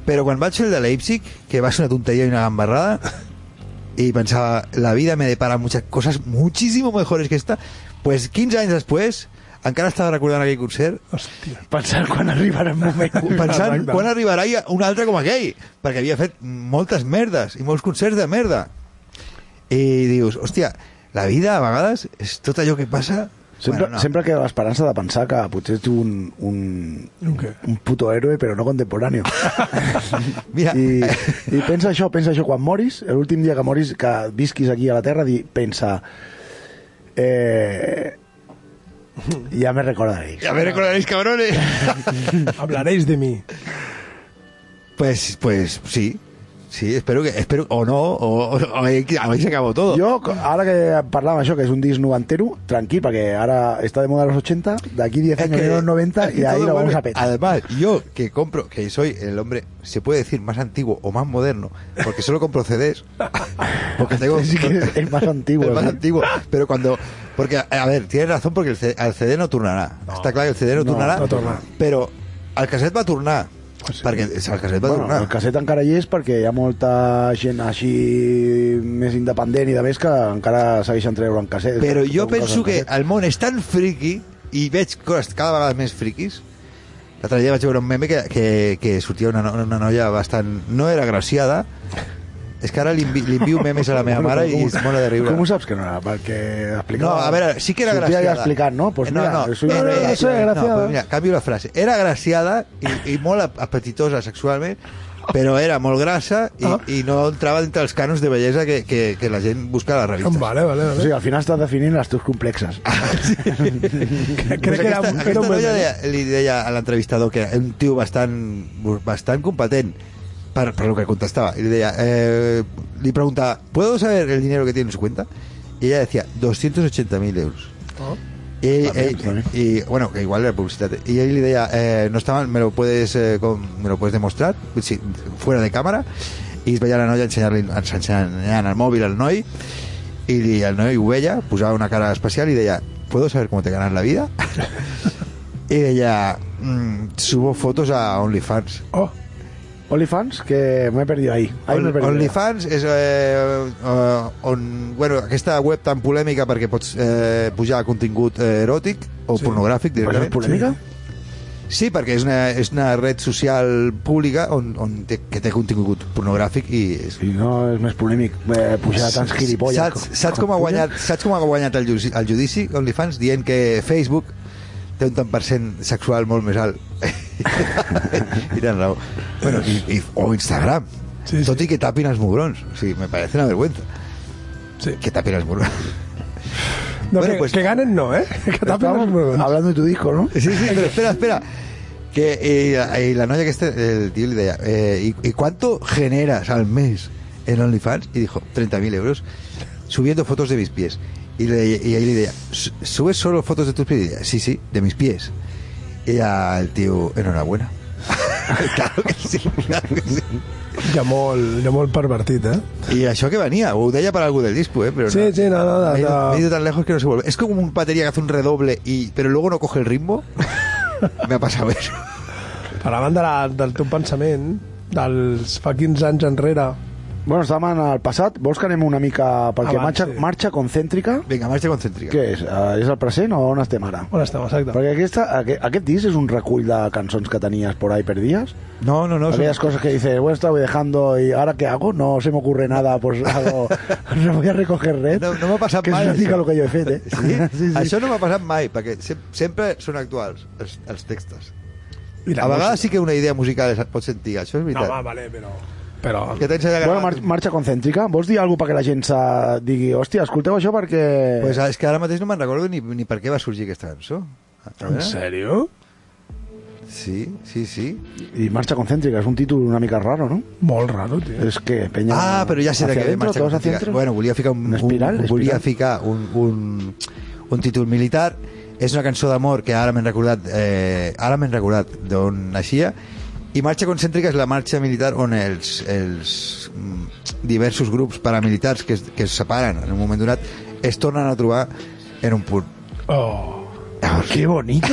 D: Però quan vaig fer el de Leipzig, que va ser una tonteria i una gambarrada, y pensaba, la vida me depara muchas cosas muchísimo mejores que esta. Pues 15 años después, encara estaba recordant aquell concert,
C: Hòstia.
E: pensar quan arribarà el moment.
D: pensant
C: Exacte.
D: quan arribarà hi ha un altre com aquell, perquè havia fet moltes merdes i molts concerts de merda. I dius, hòstia, la vida a vegades és tot allò que passa...
E: Sempre,
D: Bueno, no.
E: sempre queda l'esperança de pensar que potser ets un, un,
C: Un què?
E: un puto héroe, però no contemporani.
D: Mira,
E: I, I pensa això, pensa això. Quan moris, l'últim dia que moris, que visquis aquí a la Terra, di, pensa... Eh, ja me recordaré.
D: ja me recordaréis, cabrones.
C: Hablaréis de mi.
D: pues, pues sí, sí, espero que... Espero, o no, o, o, o ahí ahí se acabó todo.
E: Jo, ara que parlàvem això, que és un disc noventero, tranquil, perquè ara està de moda als 80, d'aquí 10 anys anirà als 90
D: es que
E: i ahí
D: todo
E: lo vamos
D: vuelve.
E: a petar.
D: Además, yo que compro, que soy el hombre, se puede decir más antiguo o más moderno, porque solo compro CDs. Porque tengo.
E: Sí que es- es más antiguo,
D: Es más
E: sí.
D: antiguo. Pero cuando. Porque, a ver, tienes razón, porque el CD, el CD no turnará. Está claro que el CD no,
E: No, Pues
D: turnarà,
C: no torna.
D: Pero al cassette va a turnar. Perquè el cassette va a
E: Bueno,
D: tornar.
E: el casset encara hi és perquè hi ha molta gent així més independent i de més que encara segueixen treure en casset.
D: Però jo
E: Treuen coses
D: penso
E: en
D: que
E: casset.
D: el món és tan friqui i veig coses cada vegada més friquis. L'altre dia vaig veure un meme que, que, que sortia una, no- una noia bastant... No era graciada. És que ara li, envi, li envio memes a la meva mare i es mola de riure.
E: Com ho saps que no era? Perquè
D: No,
E: explicava...
D: a veure, sí que era
E: Sortia
D: graciada.
E: ja explicant, no? Pues mira,
D: no, no,
E: soy una
D: era-
E: graciada.
D: era-
C: soy agraciada.
D: No, pues mira, canvio la frase. Era graciada i, i molt ap- apetitosa sexualment, però era molt grassa i,
C: Ah.
D: i no entrava dintre els canons de bellesa que, que, que la gent busca a Ah. les revistes.
C: Vale, vale,
E: O
C: vale.
E: sigui, al final estàs definint les teus complexes.
C: Crec que era,
D: aquesta,
C: un- era
D: aquesta
C: un bon
D: noia
C: moment.
D: deia, li deia a l'entrevistador que era un tio bastant, bastant competent per, per lo que contestava. I li deia, eh, li preguntava, ¿puedo saber el dinero que tiene en su cuenta? Y ella decía, 280.000 euros.
C: Oh?
D: Y,
E: También,
D: eh,
E: también.
D: y, bueno, que igual era publicidad. Y él le decía, eh, no está mal, me lo puedes, eh, con- me lo puedes demostrar Sí, fuera de cámara. Y veía la noia ensenyant-li ensenyant el mòbil al noi i el noi ho veia, posava una cara especial i deia, ¿puedo saber cómo te ganas la vida? y ella, mm, subo fotos a OnlyFans.
C: Oh,
E: OnlyFans, que me he perdido ahí. Ahí me he
D: On-
E: perdido.
D: OnlyFans és eh, eh, on, bueno, aquesta web tan polèmica perquè pots eh, pujar contingut eh, eròtic o
C: Sí.
D: pornogràfic
E: Això
D: directament.
E: és polèmica?
D: Sí, perquè és una, és una red social pública on, on té, que té contingut pornogràfic i... És...
E: Sí, no, és més polèmic eh, pujar tants gilipolles.
D: Saps, saps, com ha guanyat, saps com ha guanyat el, judici- el judici OnlyFans dient que Facebook té un tant per cent sexual molt més alt I tens raó. Bueno, i, i, o Instagram.
C: Sí,
D: Sí,
C: sí.
D: Tot i que tapin els mugrons. O sigui, me parece una vergüenza.
C: Sí.
D: Que tapin els mugrons.
C: No,
D: Bueno,
C: que,
D: pues-
C: que ganen no, ¿eh? Que tapen los
E: Estamos
C: huevos.
E: hablando de tu disco, ¿no?
D: Sí, sí, pero espera, espera. Que, eh, y la noia que este, el tío le decía, eh, ¿y, y cuánto generas al mes en OnlyFans? Y dijo, 30.000 euros, subiendo fotos de mis pies. Y, le, y ahí le decía, "Su- ¿subes solo fotos de tus pies? Y ella, sí, sí, de mis pies. Y al tío, enhorabuena. claro que sí, claro que sí.
C: Llamó el, llamó el pervertit, eh?
D: I això que venia, ho deia per algú del disco, eh? Però
C: Sí,
D: no,
C: sí, no, no, no,
D: Me he ido,
C: no.
D: me he ido tan lejos que no se vuelve. Es como un batería que hace un redoble y... Pero luego no coge el ritmo. Me ha pasado eso.
C: Per la banda la, del teu pensament, dels fa 15 anys enrere,
E: Bueno, estàvem en el passat. Vols que anem una mica... Perquè
C: Abans,
E: marxa,
C: sí.
E: marxa concèntrica...
D: Vinga, marxa concèntrica.
E: Què és? Eh, és el present o on estem ara?
C: on estem, exacte?
E: Perquè aquesta, aquest, aquest disc és un recull de cançons que tenies por ahí perdidas.
D: No, no, no. son-
E: Aquellas cosas que dices, bueno, estaba dejando y ahora qué hago? No se me ocurre nada, pues hago, no voy a recoger red.
D: No, no m'ha passat
E: que
D: mai,
E: Que significa
D: això.
E: lo que yo he fet, eh?
D: Sí? Això no m'ha passat mai, perquè sem sempre són actuals els, els textos.
C: I
D: A vegades sí que una idea musical es pot sentir, això és
C: música-
E: eh?
C: No, va,
D: veritat.
C: vale, però... Però...
D: que tens allà
E: Bueno,
D: gravat
E: mar
D: un-
E: marxa concèntrica. Vols dir alguna cosa perquè la gent se digui, hòstia, escolteu això perquè...
D: Pues, ah, és que ara mateix no me'n recordo ni, ni per què va sorgir aquesta cançó. A
C: En
D: veure?
C: sèrio?
D: Sí, sí, sí.
E: I marxa concèntrica, és un títol una mica raro, no?
C: Molt raro, tio.
E: És que, penya...
D: Ah, però ja sé de
E: hacia
D: què ve
E: adentro,
D: marxa
E: todos hacia
D: concèntrica.
E: adentro.
D: Bueno, volia ficar un,
E: Una espiral,
D: un, volia
E: espiral.
D: ficar un, un, un títol militar. És una cançó d'amor que ara m'he recordat, eh, ara m'he recordat d'on naixia. I marxa concèntrica és la marxa militar on els, els mm, diversos grups paramilitars que es, que es separen en un moment donat es tornen a trobar en un punt.
C: Oh.
E: Qué bonito.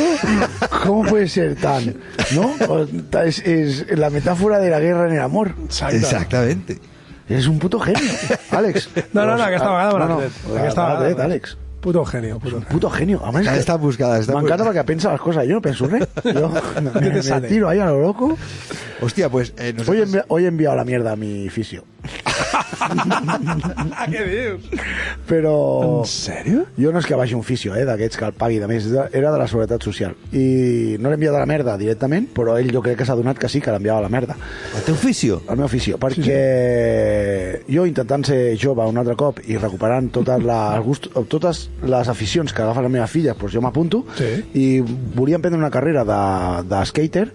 E: ¿Cómo puede ser tan? ¿No? O ta- Es, es la metáfora de la guerra en el amor.
C: Exacte.
D: Exactamente.
E: Es un puto genio, Alex.
C: No, no, no, aquesta
E: Ah,
C: vegada me
E: no,
C: l'ha
E: no,
C: tret.
E: la-
C: Aquesta
E: me l'ha
C: vegada
E: tret,
C: me l'ha
E: Àlex.
C: Puto genio, puto genio.
E: Puto genio. Además,
D: Està
E: que-
D: està buscada. Està
E: me
D: buscada.
E: encanta porque piensa las cosas. Yo no pienso, ¿eh? Yo me,
C: ¿Qué te
E: me
C: sale?
E: tiro ahí a lo loco.
D: Hòstia, pues... Eh,
E: Hoy,
D: nosaltres-
E: he envi- hoy he enviado la mierda a mi fisio.
C: Ah, què dius?
E: Pero...
C: En sèrio?
E: Jo no és que vagi a un fisio, eh, d'aquests que el pagui, de més, de- era de la Seguretat Social. I no l'he enviat a la merda directament, però ell jo crec que s'ha donat que sí, que l'enviava a la merda.
D: El teu oficio?
E: El meu afició, perquè jo intentant ser jove un altre cop i recuperant totes les, gust, totes les aficions que agafen les meves filles, doncs jo m'apunto
C: Sí.
E: i volia emprendre una carrera de, de skater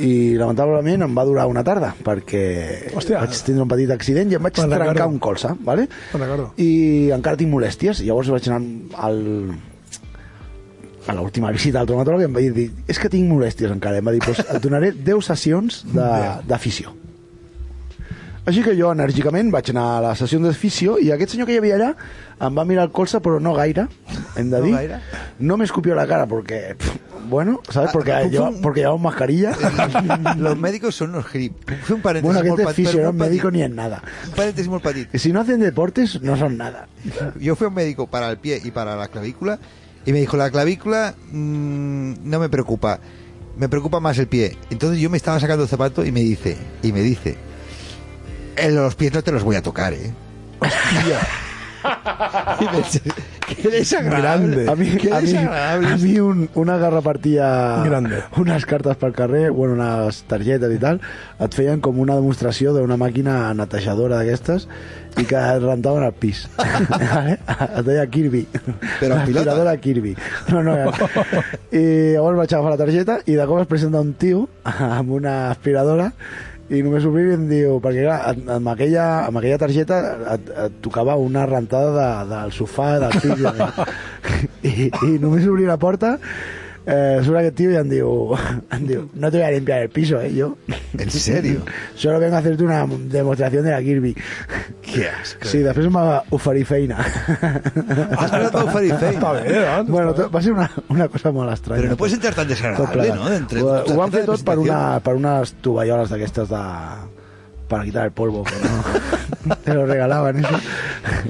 E: i lamentablement em va durar una tarda perquè
C: Hòstia.
E: vaig tindre un petit accident i em vaig
C: Me'n recordo.
E: trencar un colze, ¿vale?
C: Me'n recordo.
E: i encara tinc molèsties, llavors vaig anar al, a l'última visita al traumatòleg em va dir, és que tinc molèsties encara. Em va dir, pues, et donaré 10 sessions de, de fisio. Així que jo enèrgicament vaig anar a la sessió de fisio i aquest senyor que hi havia allà em va mirar el colze, però no gaire, hem de
D: No
E: dir.
D: gaire.
E: No m'escupió la cara, perquè... Pff, bueno, ¿sabes?
D: Ah,
E: Porque,
D: fue un-
E: lleva, porque llevaba mascarilla.
D: Eh, Los médicos son los grip. Un paréntesis
E: bueno,
D: molt petit,
E: aquest és fisio,
D: però
E: no
D: molt
E: és médico
D: petit.
E: ni en nada.
D: Un paréntesis molt petit.
E: Si no hacen deportes, no son nada.
D: Yo fui a un médico para el pie y para la clavícula y me dijo, la clavícula mm, no me preocupa, me preocupa más el pie. Entonces yo me estaba sacando el zapato y me dice, y me dice, "Eh, los pies no te los voy a tocar, ¿eh? y pensé, qué desagradable.
C: Grande.
E: A mi,
D: Qué
E: a mi,
D: desagradable.
E: a mi un, una garrapartia...
C: Grande.
E: Unes cartes pel carrer, bueno, unes targetes i tal, et feien com una demostració d'una màquina netejadora d'aquestes i que et rentaven el pis. Vale? es deia Kirby.
D: Però en pilota?
E: L'aspiradora Kirby. No, no, era... I llavors vaig agafar la targeta i de cop es presenta un tio amb una aspiradora i només obrir i em diu, perquè clar, amb- amb aquella, amb aquella targeta et, et tocava una rentada de, del sofà, del pis i, de- i, i només obrir la porta eh, surt aquest tio i em diu, em diu no te voy a limpiar el piso, eh, yo
D: ¿En serio?
E: solo vengo a hacerte una demostración de la Kirby
D: Qué asco.
E: sí, després em va oferir feina
D: Has hablado de Farid Fey.
C: Està bé, doncs.
E: Ah, bueno, to- va ser una, una cosa molt estranya
D: Pero no puedes entrar tan
E: Tot
D: desagradable,
E: plegat.
D: ¿no? Entre-
E: ho, ho van
D: tarjeta
E: fer
D: de
E: tot per, una,
D: presentación.
E: per unes tovalloles d'aquestes de per quitar el polvo, però te lo regalaven. Eso.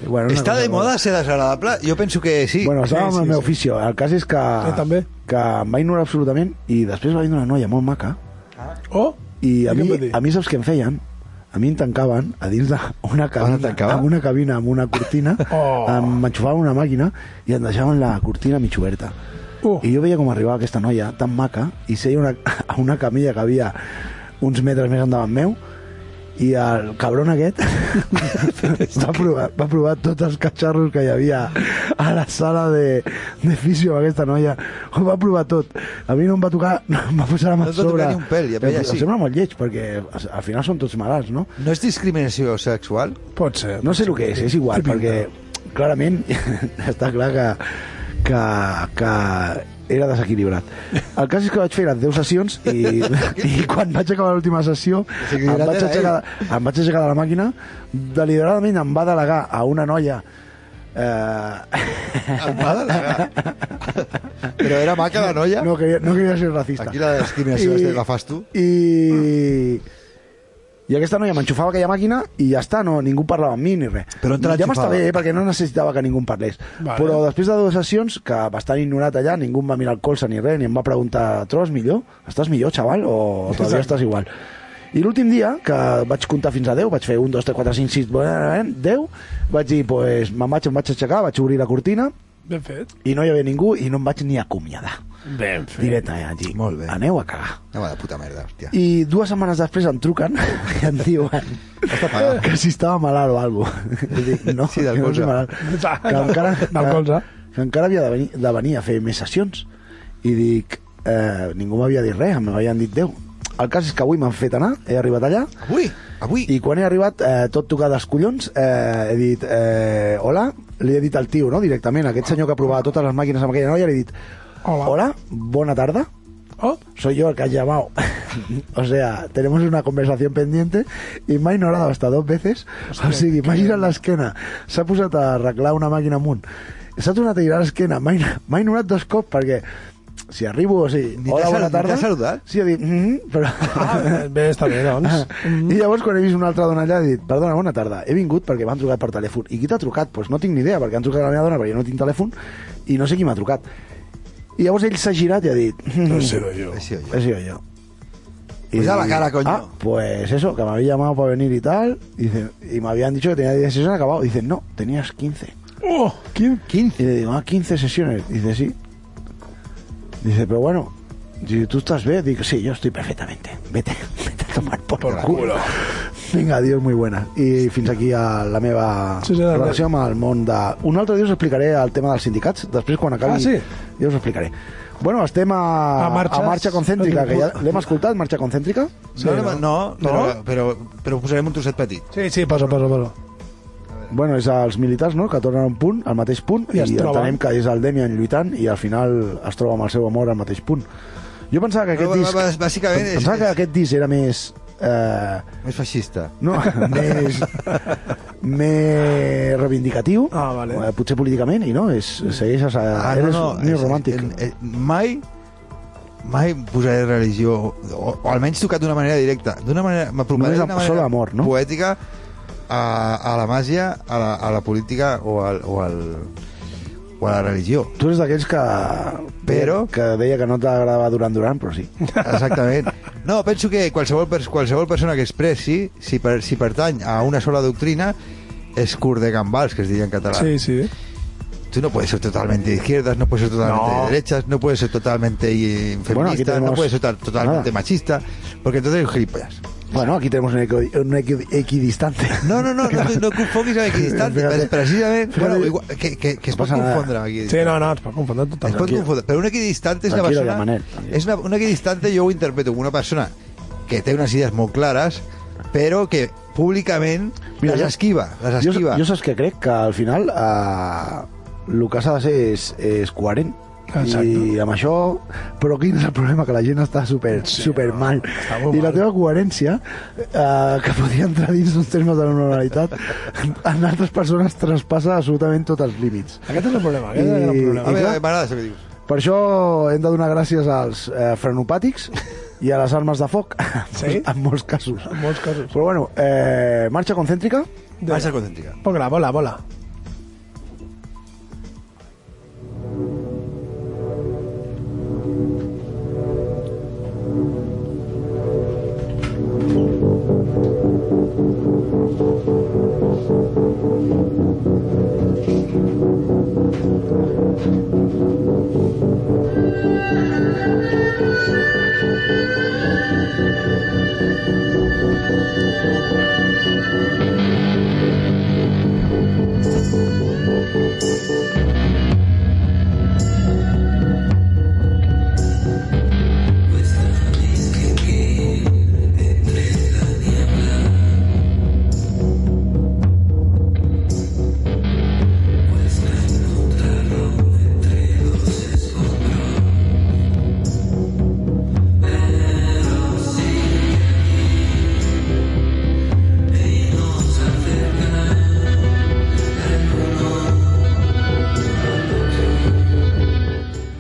E: Bueno, una
D: Está
E: cosa
D: de moda ser desagradable? Yo pienso que sí.
E: Bueno, estava
C: Sí,
E: sí, amb
C: sí,
E: el meu
C: sí.
E: oficio. El cas és que,
C: Jo també.
E: que em va ignorar absolutament i després va venir una noia molt maca
C: Oh,
E: i a
C: què em
E: mi,
C: va dir?
E: a mi saps què em feien? A mi em tancaven a dins d'una cabina,
D: tancava?
E: amb una cabina, amb una cortina,
C: Oh.
E: em enxufaven una màquina i em deixaven la cortina mig oberta.
C: Uh.
E: I jo veia com arribava aquesta noia tan maca i seia una, a una camilla que havia uns metres més endavant meu i el cabron aquest va, provar, va provar tots els catxarros que hi havia a la sala de, de fisio aquesta noia ho va provar tot a mi no em va tocar no em va posar la mà
D: No
E: a
D: et va tocar
E: sobre
D: ni un pèl, i a
E: Em-
D: ella
E: em
D: sí.
E: sembla molt lleig perquè al final són tots malalts no?
D: No és discriminació sexual?
C: Pot ser.
E: No sé el que és, és
C: Té
E: igual,
C: pinta.
E: perquè clarament està clar que, que, que era desequilibrat. El cas és que vaig fer les 10 sessions i, i quan vaig acabar l'última sessió em
D: Desequilibrat
E: vaig,
D: era
E: aixecar, em vaig aixecar de la màquina, deliberadament em va delegar a una noia eh,
D: Em va delegar. Però era maca la noia?
E: no, quería, no quería ser racista.
D: Aquí la discriminació
E: I-
D: la fas tu.
E: I... I aquesta noia m'enxufava aquella màquina i ja està, no, ningú parlava amb mi ni res.
D: Però on te
E: ja
D: l'enxufava?
E: m'està bé, eh, perquè no necessitava que ningú em parlés.
C: Vale.
E: Però després de dues sessions, que bastant ignorat allà, ningú em va mirar el colze ni res, ni em va preguntar, tros millor? Estàs millor, xaval? O
C: Exacte.
E: todavía estàs igual? I l'últim dia, que vaig comptar fins a 10, vaig fer 1, 2, 3, 4, 5, 6, 10, eh, vaig dir, pues, me'n vaig, em vaig aixecar, vaig obrir la cortina,
C: Ben fet.
E: i no hi havia ningú, i no em vaig ni acomiadar.
C: Ben
E: Directe, eh, allí.
D: Molt bé.
E: Aneu a cagar.
D: Home, de puta merda, hòstia.
E: I dues setmanes després em truquen i em diuen
D: pagat.
E: que si estava malalt o alguna cosa. Dic, no,
D: Sí,
E: que
D: del
E: no
D: colze.
E: estic malalt. Que encara,
C: Del colze.
E: que, que encara havia de venir, de venir a fer més sessions. I dic, eh, ningú m'havia dit res, m'havien dit 10. El cas és que avui m'han fet anar, he arribat allà,
D: Avui, avui.
E: i quan he arribat, eh, tot tocat dels collons, eh, he dit, eh, hola, li he dit al tio, no?, directament, aquest senyor que provava totes les màquines amb aquella noia, li he dit,
C: Hola.
E: hola bona tarda,
C: Oh,
E: soy yo el que has llamado. o sea, tenemos una conversación pendiente y m'ha ignorado hasta dos veces. o sigui, m'ha girat l'esquena, s'ha posat a arreglar una màquina amunt, s'ha tornat a girar l'esquena, m'ha ign- m'ha ignorat dos cops perquè si arribo, o sigui,
D: Ni
E: hola,
D: t'ha
E: bona
D: saludat,
E: tarda.
D: ni t'ha saludat?
E: Sí, he dit, mm -hmm, però...
C: ah, bé, està bé, doncs. Mm.
E: I llavors quan he vist una altra dona allà he dit, perdona, bona tarda, he vingut perquè m'han trucat per telèfon. I qui t'ha trucat? Doncs pues no tinc ni idea, perquè han trucat a la meva dona, perquè jo no tinc telèfon, i no sé qui m'ha trucat. I llavors ell s'ha girat i ha dit...
C: No sé, jo.
D: Així, oi.
E: He sido yo.
D: Pues a la cara, coño.
E: Ah, pues eso, que me había llamado para venir y tal. Dice, y me habían dicho que tenía 10 sesiones acabado. Dice, no, tenías 15.
C: Oh, quin...
D: 15.
E: Y le digo, ah, 15 sesiones. Dice, sí. Dice, pero bueno, si tú estás bien, digo, sí, yo estoy perfectamente. Vete, vete a tomar por,
C: Por
E: culo.
C: culo.
E: Vinga, adiós, muy buena. I fins aquí a la meva
C: Sí, sí, la
E: relació amb el món de... Un altre dia us explicaré el tema dels sindicats, després quan acabi
C: Ah, sí?
E: ja us ho explicaré. Bueno, estem a,
C: A marxes?
E: a marxa concèntrica, que ja l'hem escoltat, marxa concèntrica.
D: No, no, no,
C: No?
D: però, però, però posarem un trosset petit.
C: Sí, sí, posa, posa, posa.
E: Bueno, és els militars, no?, que tornen a un punt, al mateix punt,
C: I
E: i,
C: es
E: i
C: troben.
E: entenem que és el Demian lluitant i al final es troba amb el seu amor al mateix punt. Jo pensava que aquest
D: Però,
E: disc...
D: bàs- bàsicament és-
E: Pensava que aquest disc era més... Eh,
D: Més feixista.
E: No, més, més reivindicatiu,
C: Ah, vale.
E: eh, potser políticament, i no, és, segueix a... Ah, eres no, no,
D: és-
E: romàntic.
D: en- eh, Mai mai posaré religió, o, o almenys tocat d'una manera directa, d'una manera, m'aproparé
E: Només
D: d'una
E: amb-
D: manera
E: solo amor, no?
D: poètica a, a la màgia, a la, a la política o, al, o, al, o a la religió.
E: Tu eres d'aquells que...
D: Però-
E: Que deia que no t'agradava Durant Durant, però sí.
D: Exactament. No, penso que qualsevol, pers- qualsevol persona que expressi, si, per, si pertany a una sola doctrina, és curt de gambals, que es diria en català.
C: Sí, sí.
D: Tú no puedes ser totalmente de izquierdas, no puedes ser totalmente
C: No.
D: de derechas, no puedes ser totalmente eh, feminista,
E: Bueno, aquí tenemos
D: no puedes ser to- totalmente
E: nada.
D: machista, porque entonces eres gilipollas.
E: Bueno, aquí tenemos un, equi, un equi- equidistante.
D: No, no, no, no, no confonguis amb equidistante,
E: Fíjate.
D: però precisament...
E: Fíjate.
D: Bueno, igual, que, que, que es
E: No
D: pot
E: passa nada.
D: confondre amb equidistante.
C: Sí, no, no, es pot confondre
D: Es pot
C: totalment.
E: Tranquil.
D: confondre, però un equidistante és una
E: Tranquilo,
D: persona...
E: ja, Manel, tranquil.
D: és una, un equidistante jo ho interpreto com una persona que té unes idees molt clares, però que públicament
E: Mira,
D: les
E: jo-
D: esquiva, les
E: Jo,
D: esquiva.
E: jo saps que crec que al final eh, el que s'ha de ser és, és coherent i
C: Exacte.
E: amb això però quin és el problema? que la gent està super,
C: Sí,
E: super
C: no,
E: mal
C: està molt
E: i la
C: mal.
E: teva coherència eh, que podria entrar dins d'uns termes de la normalitat en altres persones traspassa absolutament tots els límits
C: Aquest és el problema, aquest és el gran
E: I-
D: A
C: problema.
D: veure,
E: clar-
D: m'agrada això que dius.
E: Per això hem de donar gràcies als eh, frenopàtics i a les armes de foc,
C: Sí?
E: en molts casos.
C: En molts casos.
E: Però bueno, eh, marxa concèntrica.
D: Marxa concèntrica.
C: Poc-la, vola, vola.
D: Marxa concèntrica.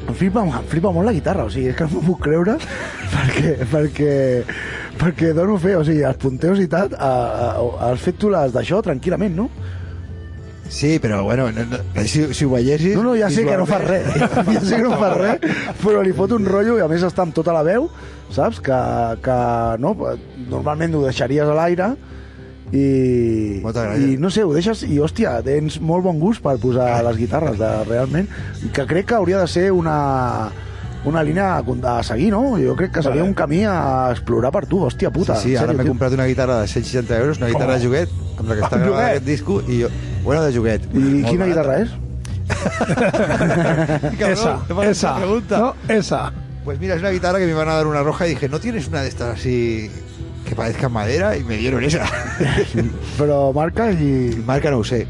E: Em flipa, em flipa molt la guitarra, o sigui, és que no m'ho puc creure perquè, perquè, perquè dono fe, o sigui, els punteus i tal, a, a, a- has fet tu les d'això tranquil·lament, no?
D: Sí, però bueno, no, no, si, si ho veiessis...
E: No, no, ja sé que no fa res,
D: visualment-
E: ja sé que no fa res, però li fot un rotllo i a més està amb tota la veu, saps? Que, que no, normalment ho deixaries a l'aire i,
D: Moltes gràcies.
E: i no sé, ho deixes i hòstia, tens molt bon gust per posar les guitarres de, realment, que crec que hauria de ser una una línia a seguir, no? Jo crec que seria un camí a explorar per tu, hòstia puta.
D: Sí, sí,
E: en
D: ara
E: sèrio,
D: m'he
E: tio. Ah,
D: comprat una guitarra de 160 euros, una guitarra de joguet, amb la que està
C: Amb
D: gravat
C: joguet?
D: aquest disco, i jo... Bueno, de joguet.
E: I quina guitarra és?
C: esa, esa.
D: Pregunta.
C: No, esa.
D: Pues mira, es una guitarra que me iban a dar una roja y dije, ¿no tienes una de estas así que parezca madera? Y me dieron esa.
E: Però marca i...
D: Marca no usé.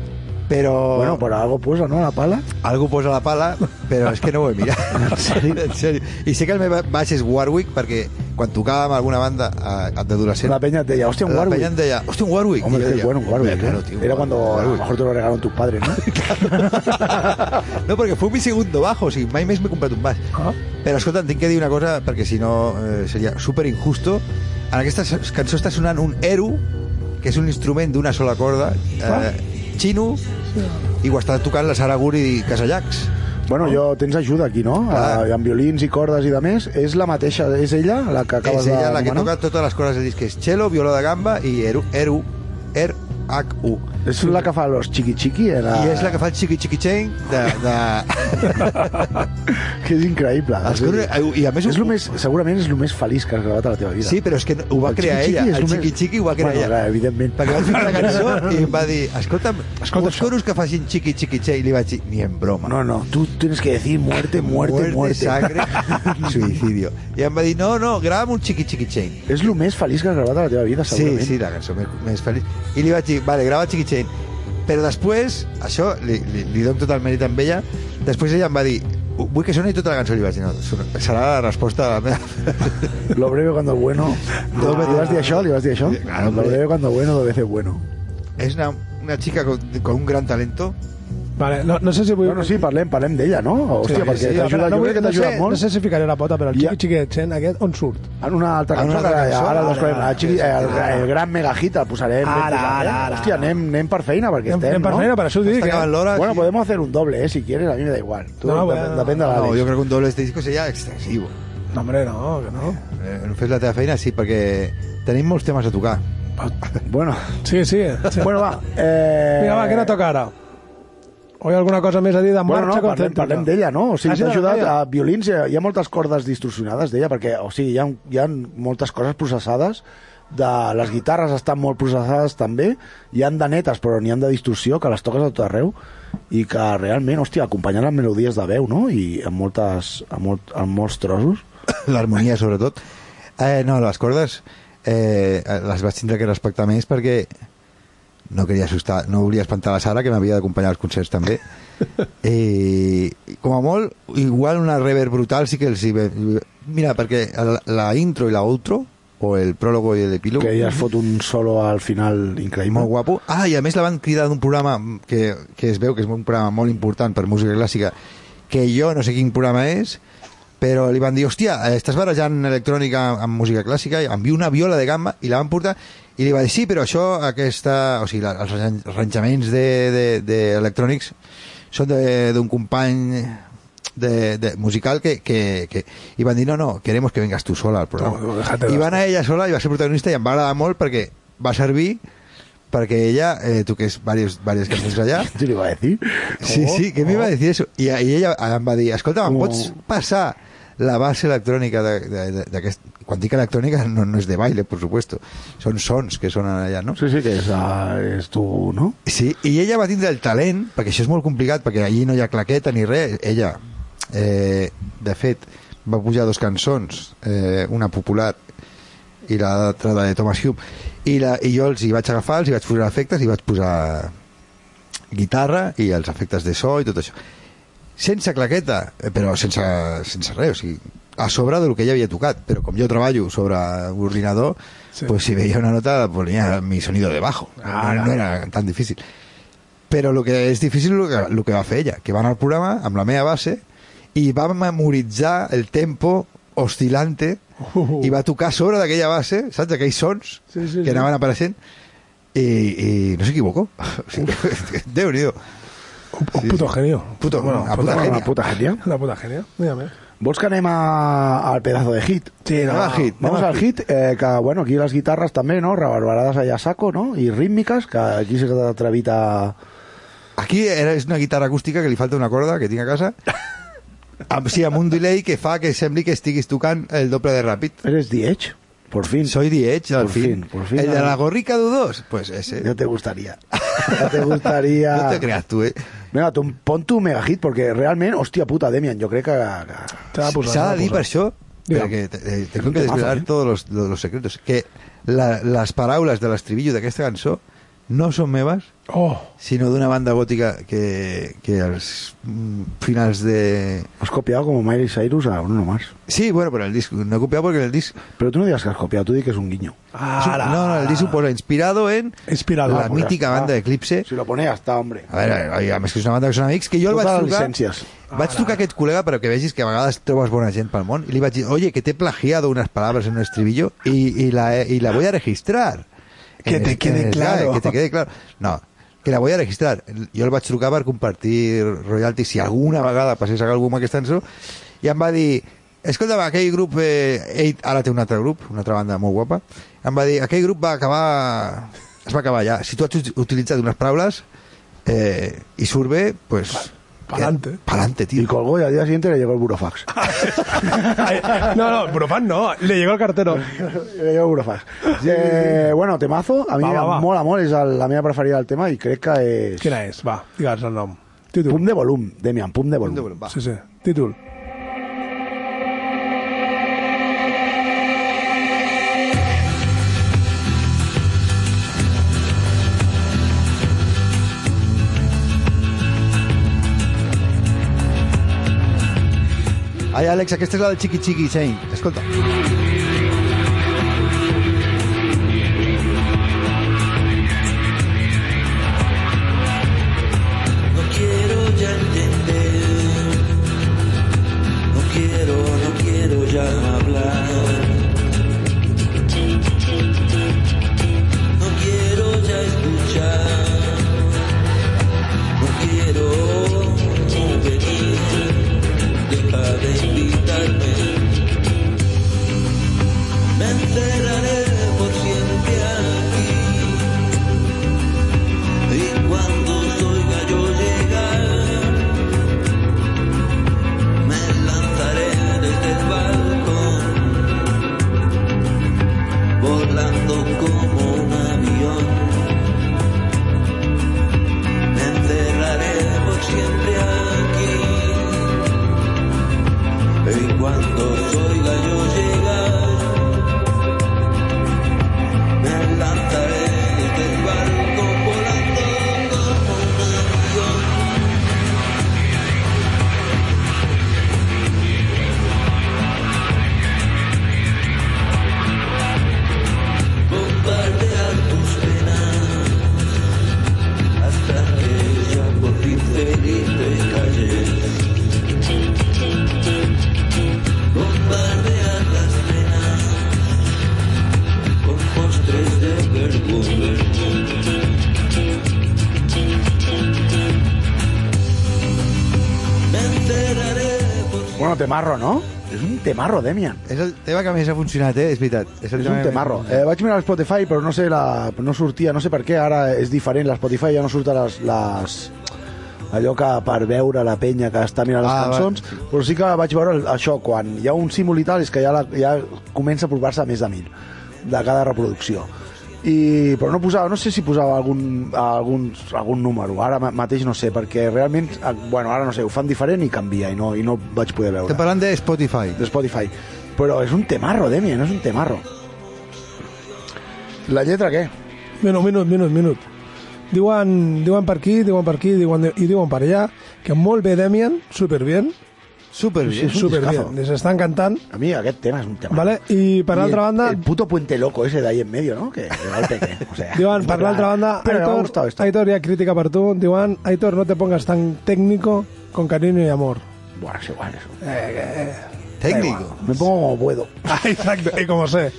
D: Pero
E: Bueno, però algo posa, no?, a la pala.
D: algo posa la pala, pero es que no voy a mirar. en, serio, en serio. I sé que el meu baix és Warwick perquè quan tocàvem amb alguna banda a, a d'adolescent...
E: La peña te decía, hostia, un
D: la
E: Warwick.
D: peña em deia, hòstia, un Warwick. I
E: Hombre,
D: jo
E: qué
D: deia,
E: bueno, un Warwick.
D: "Hombre,
E: ¿eh?
D: claro, tío,
E: Era cuando a lo
D: Warwick".
E: mejor te lo regalaron tus padres, ¿no?
D: No, perquè fou mi segundo bajo, o sigui, mai més m'he comprat un baix.
C: Ah.
D: Però escolta, tinc que dir una cosa, perquè si no eh, seria super injusto. En aquesta s- cançó està sonant un eru, que és un instrument d'una sola corda,
E: Ah.
D: eh, xino, i ho està tocant la Sara Guri Casallacs.
E: bueno, jo tens ajuda aquí, no?
D: Clar.
E: Ah. Amb violins i cordes i de més. És la mateixa, és ella la que acabes
D: És ella
E: de
D: la que
E: anomenar?
D: toca totes les cordes del disc, que és cello, viola de gamba i eru, eru, er, h, u.
E: És la que fa los chiqui-chiqui. Eh, La...
D: I és la que fa el xiqui xiqui xeng de... de...
E: Que és increïble.
D: Els cordes- Ah, i a més
E: és
D: ho-
E: lo més, segurament és el més feliç que has gravat a la teva vida.
D: Sí, però és que ho va
E: El
D: crear
E: xiqui-xiqui
D: ella.
E: és
D: El
E: només-
D: xiqui xiqui ho va crear
E: Bueno,
D: ella.
E: clar, evidentment.
D: Perquè vaig ficar la cançó i em va dir, escolta'm, Escolta uns coros que facin xiqui xiqui xei, i li vaig dir, ni en broma.
E: No, no, tu tens que decir muerte, muerte, muerte.
D: sangre, suicidio. I em va dir, no, no, grava'm un xiqui xiqui xei.
E: És el més feliç que has gravat a la teva vida,
D: Sí,
E: segurament.
D: sí, la cançó més, més feliç. I li vaig dir, vale, grava xiqui xei. Però després, això, li, li, li dono tot el mèrit amb ella, després ella em va dir, vull que soni tota la cançó, I li vaig dir, no, sona- serà la resposta a la meva...
E: Lo breve cuando es bueno.
D: Dos
E: li
D: veces-
E: vas dir això, li vas dir això.
D: Claro,
E: lo
D: hombre.
E: breve cuando bueno, dos veces bueno.
D: És una, una chica con, con un gran talento,
C: Vale, no, no sé si vull...
E: Bueno, sí, parlem, parlem d'ella, no? Hòstia, sí, perquè
D: sí,
E: sí,
D: però
E: t'ajuda,
C: no,
E: no, jo
C: vull-
E: crec que
C: no,
E: t'ajuda
C: sé,
E: molt.
C: no sé si ficaré la pota, però el
E: Ja.
C: xiqui xiquet sent aquest, on surt?
E: En una eh, altra
D: En una
E: cançó,
D: altra
E: que
D: cançó,
E: ara
D: ara,
E: descobrem.
D: ara,
E: El, xiqui, el, el gran megajita el posarem.
C: Ara,
E: ben posat, eh?
C: ara, ara.
E: Hòstia, anem, anem per feina, perquè
C: Anem-
E: estem,
C: anem per
E: no?
C: feina, per això ho dic,
D: Està
C: eh?
D: acabant l'hora.
E: Bueno,
D: i-
E: podemos hacer un doble, eh, si quieres, a mí me da igual. Tú,
C: No,
E: no,
C: bueno,
E: depèn de l'Àlex.
D: No, jo crec que un doble de disco seria excessiu.
C: No, hombre, no, que no.
D: Eh, No fes la teva feina, sí, perquè tenim molts temes a tocar.
E: Bueno,
C: Sí, sí. sí.
E: bueno, va. Eh...
C: Vinga, va, què no toca ara? O hi ha alguna cosa més a dir d'en
E: Bueno,
C: marxa
E: no, parlem,
C: concèntrica?
E: parlem d'ella, no? O sigui,
C: Ah, sí,
E: t'ha ajudat
C: d'ella?
E: a violins, hi ha- hi ha moltes cordes distorsionades d'ella, perquè, o sigui, hi ha, hi ha moltes coses processades, de, les guitarres estan molt processades també, hi han de netes, però n'hi han de distorsió, que les toques a tot arreu, i que realment, hòstia, acompanyant les melodies de veu, no? I amb, moltes, amb, molt, amb molts trossos.
D: L'harmonia, sobretot. Eh, no, les cordes eh, les vaig tindre que respectar més perquè no queria assustar, no volia espantar la Sara, que m'havia d'acompanyar als concerts també. I, com a molt, igual una reverb brutal sí que els... hi ve- Mira, perquè la, la intro i la outro, o el pròlogo i l'epílogo...
E: Que ella es fot un solo al final increïble.
D: molt guapo. Ah, i a més la van cridar d'un programa que, que es veu que és un programa molt important per música clàssica, que jo no sé quin programa és, però li van dir, hòstia, eh, estàs barrejant electrònica amb música clàssica, i envia una viola de gamba, i la van portar, i li va dir, sí, però això, aquesta, o sigui, la, els arran- arranjaments d'electrònics de, de, electrònics són de- d'un company de, de musical que, que, que... I van dir, no, no, queremos que vengas tú sola al programa.
C: No, déjate de
D: I van a ella sola, i va ser protagonista, i em va agradar molt perquè va servir perquè ella eh, toqués varios, varias canciones allá.
E: Yo le iba a decir.
D: Sí, sí, que me iba a decir eso. Y, a- i ella em va dir, escolta, em
E: Oh.
D: pots passar la base electrònica de- de- de- d'aquest... Cuántica electrónica no, no es de baile, por supuesto. Son sons que sonen allà, no?
E: Sí, sí, que és, ah, és tu, no?
D: Sí, i ella va tindre el talent, perquè això és molt complicat, perquè allí no hi ha claqueta ni res. Ella, eh, de fet, va pujar dos cançons, eh, una popular i l'altra de Thomas Hume. I, la, I jo els hi vaig agafar, els hi vaig posar efectes, i vaig posar guitarra i els efectes de so i tot això. Sense claqueta, eh, però sense, sense res, o sigui, a sobre del que ja havia tocat, però com jo treballo sobre un ordinador,
C: Sí.
D: sí. pues si veia una nota la ponía mi sonido debajo.
C: Ah,
D: no, no era tan difícil. Pero lo que és difícil és lo que, lo que va fer ella, que va anar al programa amb la meva base i va memoritzar el tempo oscil·lante
C: Uh.
D: i va tocar sobre d'aquella base, saps? Aquells sons
C: Sí, sí,
D: que
C: sí.
D: anaven apareixent i, i no s'equivocó. O sigui, Déu-n'hi-do.
C: Un, un puto genio.
D: Puto- una puta genia.
C: genio.
E: Una puta genia.
C: Una puta genia. Mírame.
E: Vols que anem a, al pedazo de hit?
C: Sí,
D: no. Anem al hit,
E: Vamos
D: anem al
E: al hit, eh, que bueno, aquí les guitarres també, no? Reverberades allà a saco, no? I rítmiques, que aquí s'ha atrevit a...
D: Aquí era, és una guitarra acústica que li falta una corda que tinc a casa amb, sí, amb un delay que fa que sembli que estiguis tocant el doble de ràpid.
E: Eres The Edge? Por fin.
D: Soy The Edge, al
E: Por
D: fin.
E: fin, por fin.
D: ¿El de la gorrica dudos? Pues ese.
E: Ya te gustaría. Ya te gustaría...
D: No te creas tú, eh.
E: Vinga, tu, pon tu mega hit, perquè realment, hòstia puta, Demian, jo crec que... que...
C: Te va a
D: S'ha
C: posar, te va a
D: de dir
C: posar.
D: per això,
C: Digue'm.
D: perquè te- te- tengo que
E: temazo,
D: desvelar
E: eh?
D: todos los, los, los secretos, que la, les paraules de l'estribillo d'aquesta cançó no són meves,
C: Oh,
D: sinó d'una banda gòtica que, que als mm, finals de...
E: Has copiado como Miley Cyrus a uno más.
D: Sí, bueno, però el disc, no he copiat perquè el disc...
E: Pero tú no digas que has copiado, tú di que es un guiño.
D: és un-
C: ara.
D: no, no, el disc ho posa inspirado en
C: Inspirado.
D: la
C: Ah, pues
D: mítica
E: ja està.
D: banda Eclipse. Ah,
E: Si lo ponía hasta, hombre.
D: A veure, a veure, a més que és una banda que són amics, que jo el vaig
E: Totes les
D: trucar...
E: llicències.
D: Vaig trucar a aquest col·lega però que vegis que a vegades trobes bona gent pel món i li vaig dir, oye, que t'he plagiado unas palabras en un estribillo y, y, la, y la voy a registrar.
C: Que
D: En
C: te
D: el-
C: quede
D: en el
C: claro.
D: GAE, Que te quede claro. Eh, No, que la voy a registrar. Jo el vaig trucar per compartir royalties si alguna vegada passés a algú amb aquesta cançó i em va dir, escolta, va, aquell grup, eh, ell ara té un altre grup, una altra banda molt guapa, em va dir, aquell grup va acabar, es va acabar ja. Si tu has ut- utilitzat unes paraules eh, i surt bé, pues... eh,
C: pa'lante.
D: Pa'lante, tío.
E: Y colgó y al día siguiente le llegó el burofax.
C: Ay, no, no, Brofan no. Le llegó el cartero.
E: Le llegó el burofax. Eh, bueno, temazo. A mi
C: Va, va, va.
E: em mola molt, és el- la meva preferida del tema i crec que és...
C: Quina és? Va, digues el nom. Títol.
E: Pum de volum, Demian, pum de volum.
D: de volum, va.
C: Sí, sí. Títol.
D: Ai, Àlex, aquesta és la del Chiqui Chiqui Chain. Escolta.
G: No quiero ya entender, no quiero, no quiero ya hablar. No quiero ya escuchar, no quiero venir, deja de invitarme. Me encerraré por siempre aquí. Y cuando os oiga yo llegar, me lanzaré desde el balcón, volando como un avión. Me encerraré por siempre aquí. Y cuando os oiga yo llegar, me lanzaré desde el balcón volando como un avión. bombardear tus penas hasta que ya por fin feliz te calles. Bombardear las penas con postres de vergüenza. Me enteraré por
E: Bueno, temarro, no? És un temarro, Demian.
D: És el tema que més ha funcionat, eh? És veritat. el
E: És un temarro. Eh, vaig mirar Spotify, però no sé la, no sortia, no sé per què, ara és diferent, la Spotify ja no surt a les, les, allò que per veure la penya que està mirant les
D: Ah,
E: ah, cançons, va. però sí que vaig veure el- això, quan hi ha un símbol i tal, és que ja, la, ja comença a apropar-se a més de mil de cada reproducció. I, però no posava, no sé si posava algun, algun, algun número, ara ma- mateix no sé, perquè realment, eh, bueno, ara no sé, ho fan diferent i canvia, i no, i no vaig poder veure
D: Estem parlant de Spotify.
E: de Spotify. Però és un temarro, Demian, és un temarro. La lletra què?
C: Minut, minut, minut, minut. Diuen, diuen per aquí, diuen per aquí, diuen, i diuen per allà, que molt bé, Demian, superbien,
D: Super
E: Sí,
D: bien.
E: sí. un
C: superbien.
E: discazo.
C: Les estan cantant,
E: A mi aquest tema és un temarro.
C: vale? I per
E: I
C: l'altra
E: el-
C: banda,
E: El puto puente loco ese de ahí en medio, ¿no? Que que va el peque. O sea,
C: diuen, per l'altra banda,
E: Però m'ha
C: Aitor,
E: gustat esto.
C: Aitor, hi eh, ha crítica per tu, diuen, Aitor, no te pongas tan técnico, con cariño y amor.
E: Buah, es igual eso.
C: Eh,
D: Técnico.
E: Me pongo como puedo.
C: Ah, Exacte, i com ho sé.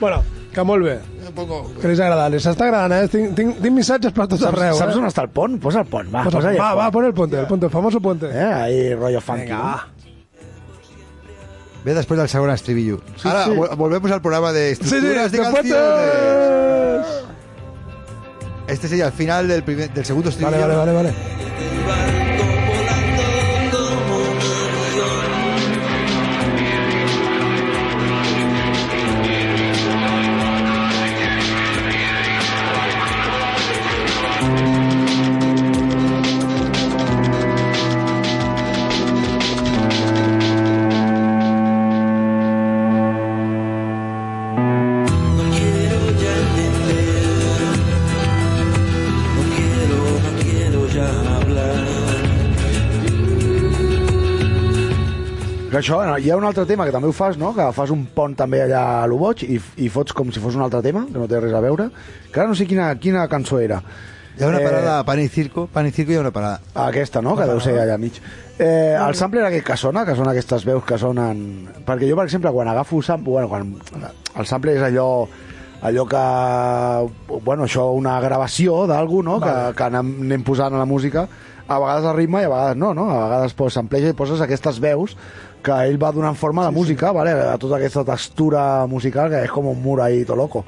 C: Bueno, que molt bé, que les agrada, les està agradant, eh? Tinc, tinc, tinc missatges per tot
E: Saps,
C: arreu, eh?
E: saps on està el pont? Posa el pont, va.
C: Pues,
E: posa
C: va, va, pon el puente, el puente, el famoso puente.
E: Eh, ahí rollo funky.
C: Vinga,
E: ¿no?
C: va.
D: Ve después del segundo estribillo. Ahora
E: sí.
D: vol- volvemos al programa de
C: Sí, sí,
D: estructuras de
C: de
D: canciones.
C: puentes.
D: Este sería el final del, primer- del segundo estribillo.
C: Vale, vale, vale, vale.
G: No quiero, no quiero ya hablar.
E: Que això, hi ha un altre tema que també ho fas, no? Que fas un pont també allà a l'Uboig i, i fots com si fos un altre tema, que no té res a veure. Que ara no sé quina, quina cançó era.
D: Y ahora
E: Eh,
D: una parada, pan y circo. Pan y circo y una parada.
E: Aquesta, no? Que deu ser allà mig. Eh, el sampler aquest que sona, que són aquestes veus que sonen... Perquè jo, per exemple, quan agafo sample... Bueno, quan... El sampler és allò allò que... Bueno, això, una gravació d'algú, no? Vale. Que, que anem, anem posant a la música. A vegades el ritme i a vegades no, no? A vegades pues, sampleja i poses aquestes veus que ell va donant forma a la música, vale? a tota aquesta textura musical que és com un mur ahí, to loco.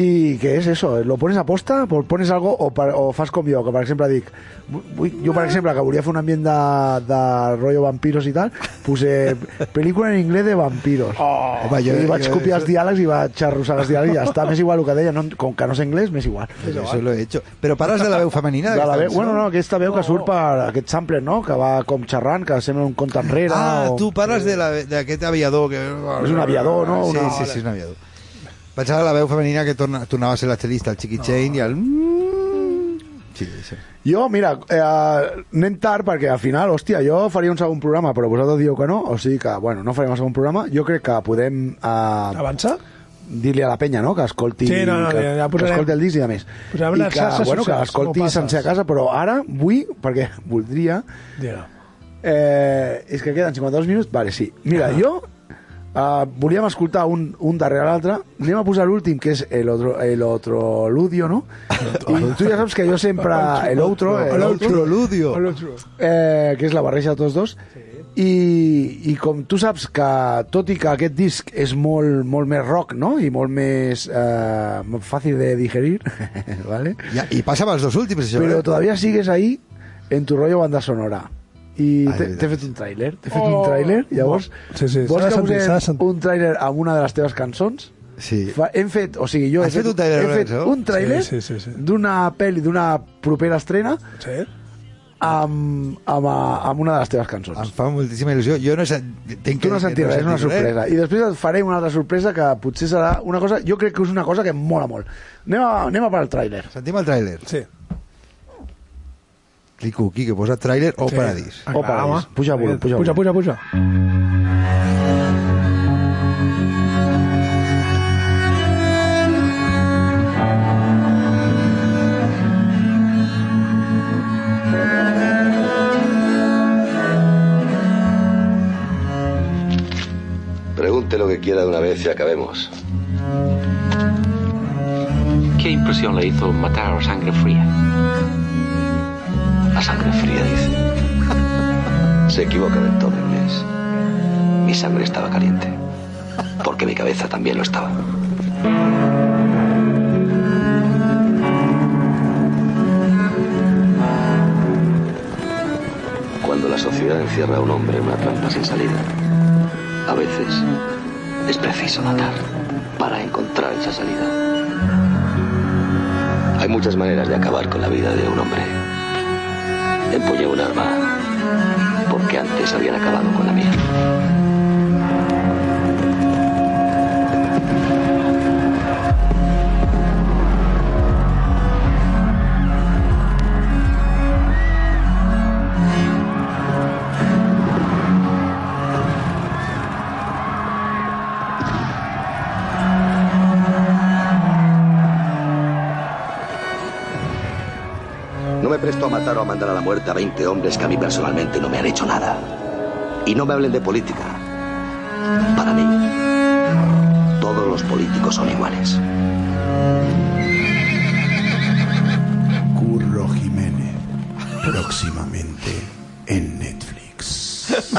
E: ¿Y qué es eso? ¿Lo pones a posta? ¿Pon- ¿Pones algo o, per- o fas com jo? Que, per exemple, dic... vu- vull- Jo, per exemple, que volia fer un ambient de, de rotllo vampiros i tal, puse pel·lícula en anglès de vampiros. Oh,
D: Home, jo-
E: I vaig
D: jo-
E: copiar
D: jo-
E: els diàlegs i vaig arrossegar els diàlegs i ja està. M'és igual el que deia, no, com que no sé anglès, m'és igual.
D: Eso lo he hecho. Pero paras de la veu femenina.
E: De la
D: esta
E: veu,
D: canción.
E: bueno, no, aquesta veu que surt per aquest sampler, no? Que va com xerrant, que sembla un conte enrere.
D: Ah,
E: o...
D: tú paras de, la, de aquel aviador. Que...
E: És un aviador, no?
D: Sí,
E: Una-
D: sí, sí, és un aviador. Pensava la veu femenina que torna, tornava a ser la xelista, el Chiqui Chain i el... Sí, sí.
E: Jo, mira, eh, anem tard perquè al final, hòstia, jo faria un segon programa, però vosaltres dieu que no, o sigui que, bueno, no farem el segon programa. Jo crec que podem eh,
C: Avança?
E: dir-li a la penya, no?, que escolti,
C: Ah, Sí, no, no,
E: que,
C: ja- ja
E: que
C: posarem-
E: escolti el disc i a més.
C: posarem
E: I
C: les
E: que,
C: xarxes
E: bueno, que
C: socials, com
E: l'escolti
C: passes.
E: sense a casa, però ara vull, perquè voldria...
C: Digue-ho.
E: Eh, és que queden 52 minuts? Vale, sí.
C: Ah.
E: Mira, jo... Uh, volíem escoltar un, un darrere l'altre anem a posar l'últim que és el otro, el otro ludio no? i tu ja saps que jo sempre el otro, el
D: El
E: otro
D: Proludio.
E: eh, que és la barreja de tots dos. I, I com tu saps que, tot i que aquest disc és molt, molt més rock, no? I molt més eh, fàcil de digerir, ¿vale?
D: Ja, I passa amb els dos últims, això.
E: Però
D: Però,
E: todavía sigues ahí en tu rollo banda sonora. I
D: Ah, és
E: t'he
D: veritat.
E: t'he fet un tràiler, t'he fet un tràiler, llavors...
C: Sí, sí, s'ha
E: vols
C: de
E: que
C: sentir, s'ha de
E: posem
C: sentir.
E: un tràiler amb una de les teves cançons?
D: sí.
E: Fa, hem fet, o sigui, jo he
D: Has fet un tràiler,
E: he fet
D: Lorenzo?
E: un tràiler
C: Sí, sí, sí, sí.
E: d'una pel·li, d'una propera estrena,
C: Sí?
E: amb, amb, amb una de les teves
D: Em
E: cançons.
D: fa moltíssima il·lusió. Jo no he sentit...
E: Tu no sentiràs,
D: ¿eh?
E: és una sorpresa. I després et faré una altra sorpresa que potser serà una cosa... Jo crec que és una cosa que em mola molt. Anem a, anem a per al tràiler.
D: Sentim el tràiler.
C: Sí.
D: Clico aquí, que posa tràiler pues o
C: Sí.
D: paradís.
E: O paradís. Puja volum, puja
C: Puja,
E: volum.
C: puja, puja.
F: Pregunte lo que quiera de una vez y acabemos.
H: ¿Qué impresión le hizo matar a sangre fría?
F: A sangre fría, dice. Se equivoca del todo, Inés. Mi sangre estaba caliente. Porque mi cabeza también lo estaba. sociedad encierra a un hombre en una trampa sin salida. A veces es preciso matar para encontrar esa salida. Hay muchas maneras de acabar con la vida de un hombre. Empuñé un arma porque antes habían acabado con la mía. No me presto a matar o a mandar a la muerte a 20 hombres que a mí personalmente no me han hecho nada. Y no me hablen de política. Para mí, todos los políticos son iguales.
B: Curro Jiménez. Próximamente en Netflix.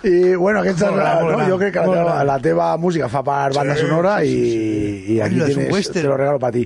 E: I, bueno, aquesta
C: Molt
E: és la,
C: gran, molt
E: no,
C: gran,
E: jo crec que la
C: molt
E: teva,
C: gran.
E: la teva música fa part banda sonora i, i aquí
D: Mira, és un
E: tienes,
D: western.
E: te lo regalo para ti.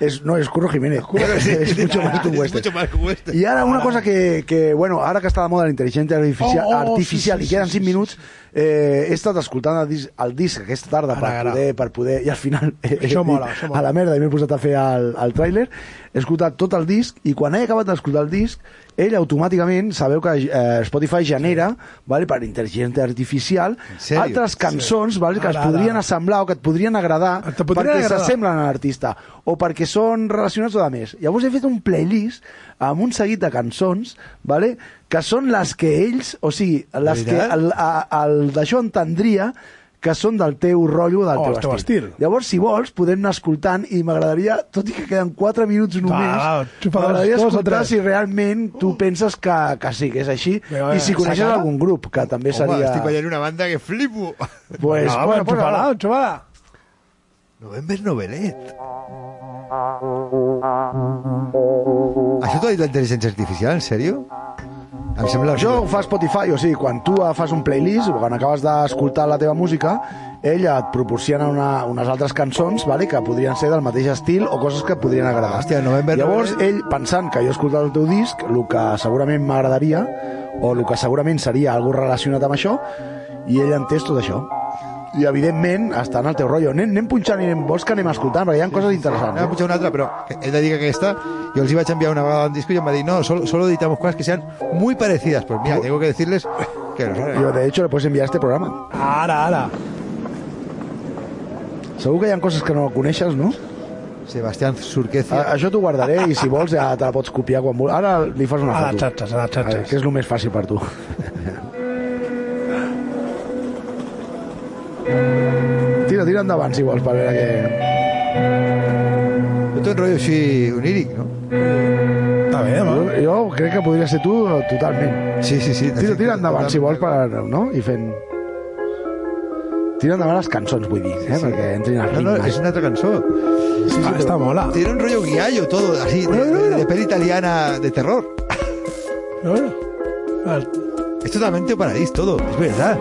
E: Es, no, es Curro Jiménez. es mucho más que un western.
D: mucho más este. que un western.
E: Y ahora una cosa que, que, bueno, ara que està de moda l'intel·ligència artificial,
C: Oh, oh,
E: artificial
C: sí, sí,
E: i queden
C: sí,
E: 5
C: sí,
E: minuts, eh, he estat escoltant el disc, el disc aquesta tarda per
C: Ara, ara.
E: poder, per poder, i al final eh,
C: Això
E: eh,
C: mola,
E: dic,
C: això mola.
E: a la merda i m'he posat a fer el, el tràiler, he escoltat tot el disc i quan he acabat d'escoltar el disc, ell automàticament, sabeu que eh, Spotify genera, vale, per intel·ligència artificial,
D: sèrio?
E: altres cançons vale, que
C: Ara,
E: es
C: ara.
E: podrien assemblar o que et podrien agradar
C: Te podrien
E: perquè
C: agradar.
E: s'assemblen semblen a l'artista o perquè són relacionats o de més. Llavors he fet un playlist amb un seguit de cançons vale? que són les que ells, o sigui, les que
D: Veritat?
E: el, a- el d'això entendria que són del teu rotllo, del
C: O el
E: teu,
C: teu
E: estil.
C: estil.
E: Llavors, si vols, podem anar escoltant i m'agradaria, tot i que queden 4
C: va,
E: minuts només,
C: xupa dos,
E: m'agradaria
C: dos o
E: escoltar
C: tres. Uh.
E: si realment tu penses que, que sí, que és així,
C: Vinga, va,
E: i si coneixes
C: sacala.
E: algun grup, que també
D: Home,
E: seria...
D: estic veient una banda que flipo.
E: Pues,
C: no,
E: bueno,
C: bueno,
E: posa-la.
C: xupala, xupala.
D: November Novelet. Això t'ho ha dit la intel·ligència artificial, en sèrio? Em sembla...
E: Això ho fa Spotify, o sigui, quan tu eh, fas un playlist o quan acabes d'escoltar la teva música, ella et proporciona una, unes altres cançons vale, que podrien ser del mateix estil o coses que et podrien agradar.
D: Hòstia, November-
E: Llavors, ell, pensant que jo he escoltat el teu disc, el que segurament m'agradaria o el que segurament seria algo relacionat amb això, i ell ha entès tot això. I, evidentment, està en el teu rotllo. Anem, anem punxant i anem vols que anem escoltant, perquè hi ha coses
D: Anava a
E: interessants. eh?
D: pujar una altra, però he de dir que aquesta... Jo els hi vaig enviar una vegada un disco i em va dir no, solo, solo editamos cosas que sean muy parecidas. Pues mira, tengo que decirles que...
E: Jo, de hecho, le puedes enviar este programa.
C: Ara, ara.
E: Segur que hi ha coses que no coneixes, no?
D: Sebastián Surquecia...
E: A, això t'ho guardaré i si vols ja te la pots copiar quan vulguis. Ara li fas una
C: A les
E: foto.
C: xarxes, a les
E: A veure,
C: xarxes.
E: que és el més fàcil per tu. Tira, tira endavant si vols per veure què...
D: Tot un rotllo així oníric, no?
C: Està bé,
D: Ah.
E: Jo,
C: home.
E: jo crec que podria ser tu eh, totalment.
D: Sí, sí, sí.
E: Tira, tira endavant si vols per... No? I fent... Tira endavant les cançons, vull dir, eh?
D: sí.
E: perquè entrin al
D: No,
E: ritme.
D: no, és una altra cançó.
C: Està, està mola.
D: Tiene un rollo guiallo todo, así, de, de- de peli italiana de terror.
C: No, no. El-
D: Es totalmente paradis todo, es verdad.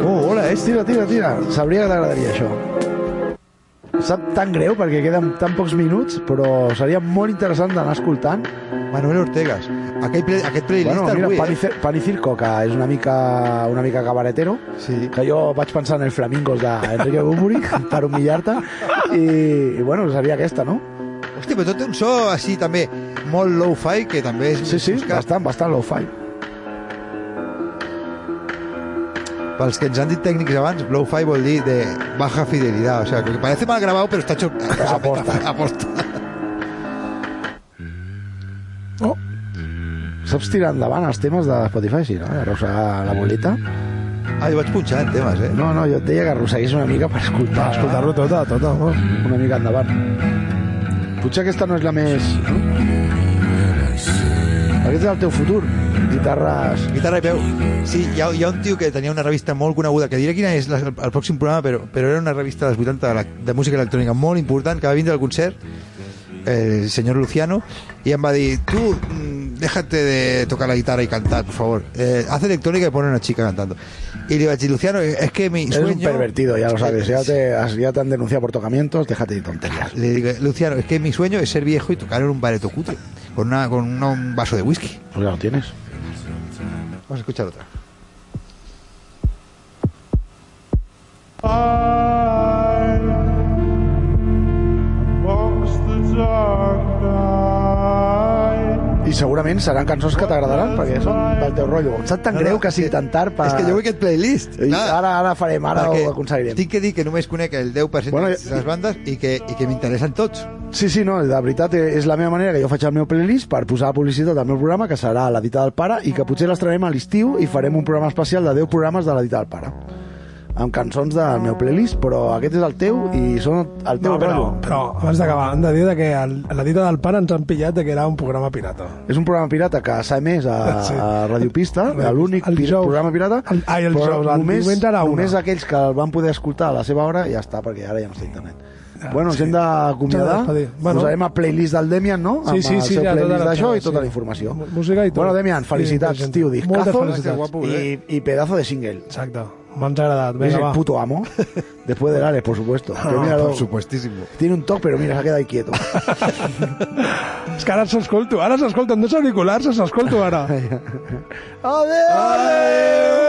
D: ¿Cómo mola esto?
E: Oh, eh, Tira, tira, tira. Sabria que t'agradaria això. Em Sap tan greu perquè queden tan pocs minuts, però seria molt interessant d'anar escoltant.
D: Manuel Ortegas. Aquel, play, aquest playlist
E: Bueno, mira,
D: avui, eh?
E: Pan, i, Cir- Pan i Circo, que és una mica, una mica cabaretero,
D: Sí.
E: que jo vaig pensar en el Flamingos d'Enrique Bumburi per humillar-te, i, i bueno, seria aquesta, no?
D: Hòstia, però tot té un so així també molt low-fi, que també és...
E: Sí, sí,
D: buscat.
E: bastant, bastant low-fi.
D: Pels que ens han dit tècnics abans, low-fi vol dir de baja fidelidad. O sea, que parece mal grabado, pero está hecho...
E: Aposta.
D: Aposta.
C: Oh,
E: Saps tirar endavant els temes de Spotify, sí, no? Arrossegar la boleta.
D: Ah, jo vaig punxant temes, eh?
E: No, no, jo et deia que arrosseguis una mica per escoltar.
C: escoltar-lo tot, tot, tot.
E: Mm. una mica endavant. Potser aquesta no és la més... No? Aquest és el teu futur. Guitarres...
D: Guitarra i peu. Sí, hi ha, hi ha un tio que tenia una revista molt coneguda, que diré quina és la, el, el pròxim programa, però, però era una revista dels 80 de, la, de música electrònica molt important, que va vindre al concert, eh, el senyor Luciano, i em va dir, tu, mm, déjate de tocar la guitarra y cantar, por favor. Eh, haz electrónica y pone una chica cantando. Y le iba a decir, Luciano, es que mi
E: Eres
D: sueño...
E: un pervertido, ya lo sabes. Ya te, has- ya te han denunciado por tocamientos, déjate de tonterías.
D: Le digo, Luciano, es que mi sueño es ser viejo y tocar en un bareto cutre, con, una, con una- un vaso de whisky.
E: Pues ya lo tienes.
D: Vamos a escuchar otra.
E: I segurament seran cançons que t'agradaran, perquè són del teu rotllo. Em sap tan greu que sigui intentar per...
D: És que jo vull aquest playlist.
E: I ara, ara farem, ara
D: perquè
E: ho aconseguirem.
D: Tinc que dir que només conec el 10%
E: Bueno,
D: de
E: ja-
D: les bandes i que, i que m'interessen tots.
E: Sí, sí, no, de veritat eh, és la meva manera que jo faig el meu playlist per posar publicitat al meu programa, que serà la dita del pare, i que potser l'estrenarem a l'estiu i farem un programa especial de 10 programes de la dita del pare amb cançons del meu playlist, però aquest és el teu i són el teu
C: No, però,
E: rotllo.
C: però abans d'acabar, hem de dir de que el, a la dita del pan ens han pillat de que era un programa pirata.
E: És un programa pirata que s'ha emès a,
C: Sí.
E: a Radio Pista,
C: El-
E: l'únic
C: el
E: pi-
C: dijous.
E: programa pirata,
C: El- ai, el
E: però
C: dijous, el
E: només,
C: diumenge a la una.
E: només aquells que el van poder escoltar a la seva hora ja està, perquè ara ja no està a internet.
C: Ah,
E: bueno, ens hem d'acomiadar.
C: S'ha de despedir. Bueno.
E: Bueno. Posarem a playlist del Demian, no?
C: Sí, sí,
E: Amb el
C: sí,
E: seu
C: ja, tota
E: playlist
C: la-
E: d'això i
C: sí.
E: tota la informació.
C: Mu- música i tot.
E: Bueno, Demian, felicitats,
C: Sí,
E: tio,
C: moltes
E: discazo
C: felicitats.
D: Guapo,
E: i,
D: eh?
E: i pedazo de single.
C: Exacte, m'han agradat.
E: es
C: Vinga,
E: el
C: va.
E: puto amo. Después del Alex, por supuesto. Que míralo.
D: supuestísimo.
E: Tiene un toque, pero mira, se ha quedado ahí quieto.
C: És que ara s'escolto, ara s'escolto, amb dos auriculars s'escolto ara.
E: ¡Adiós!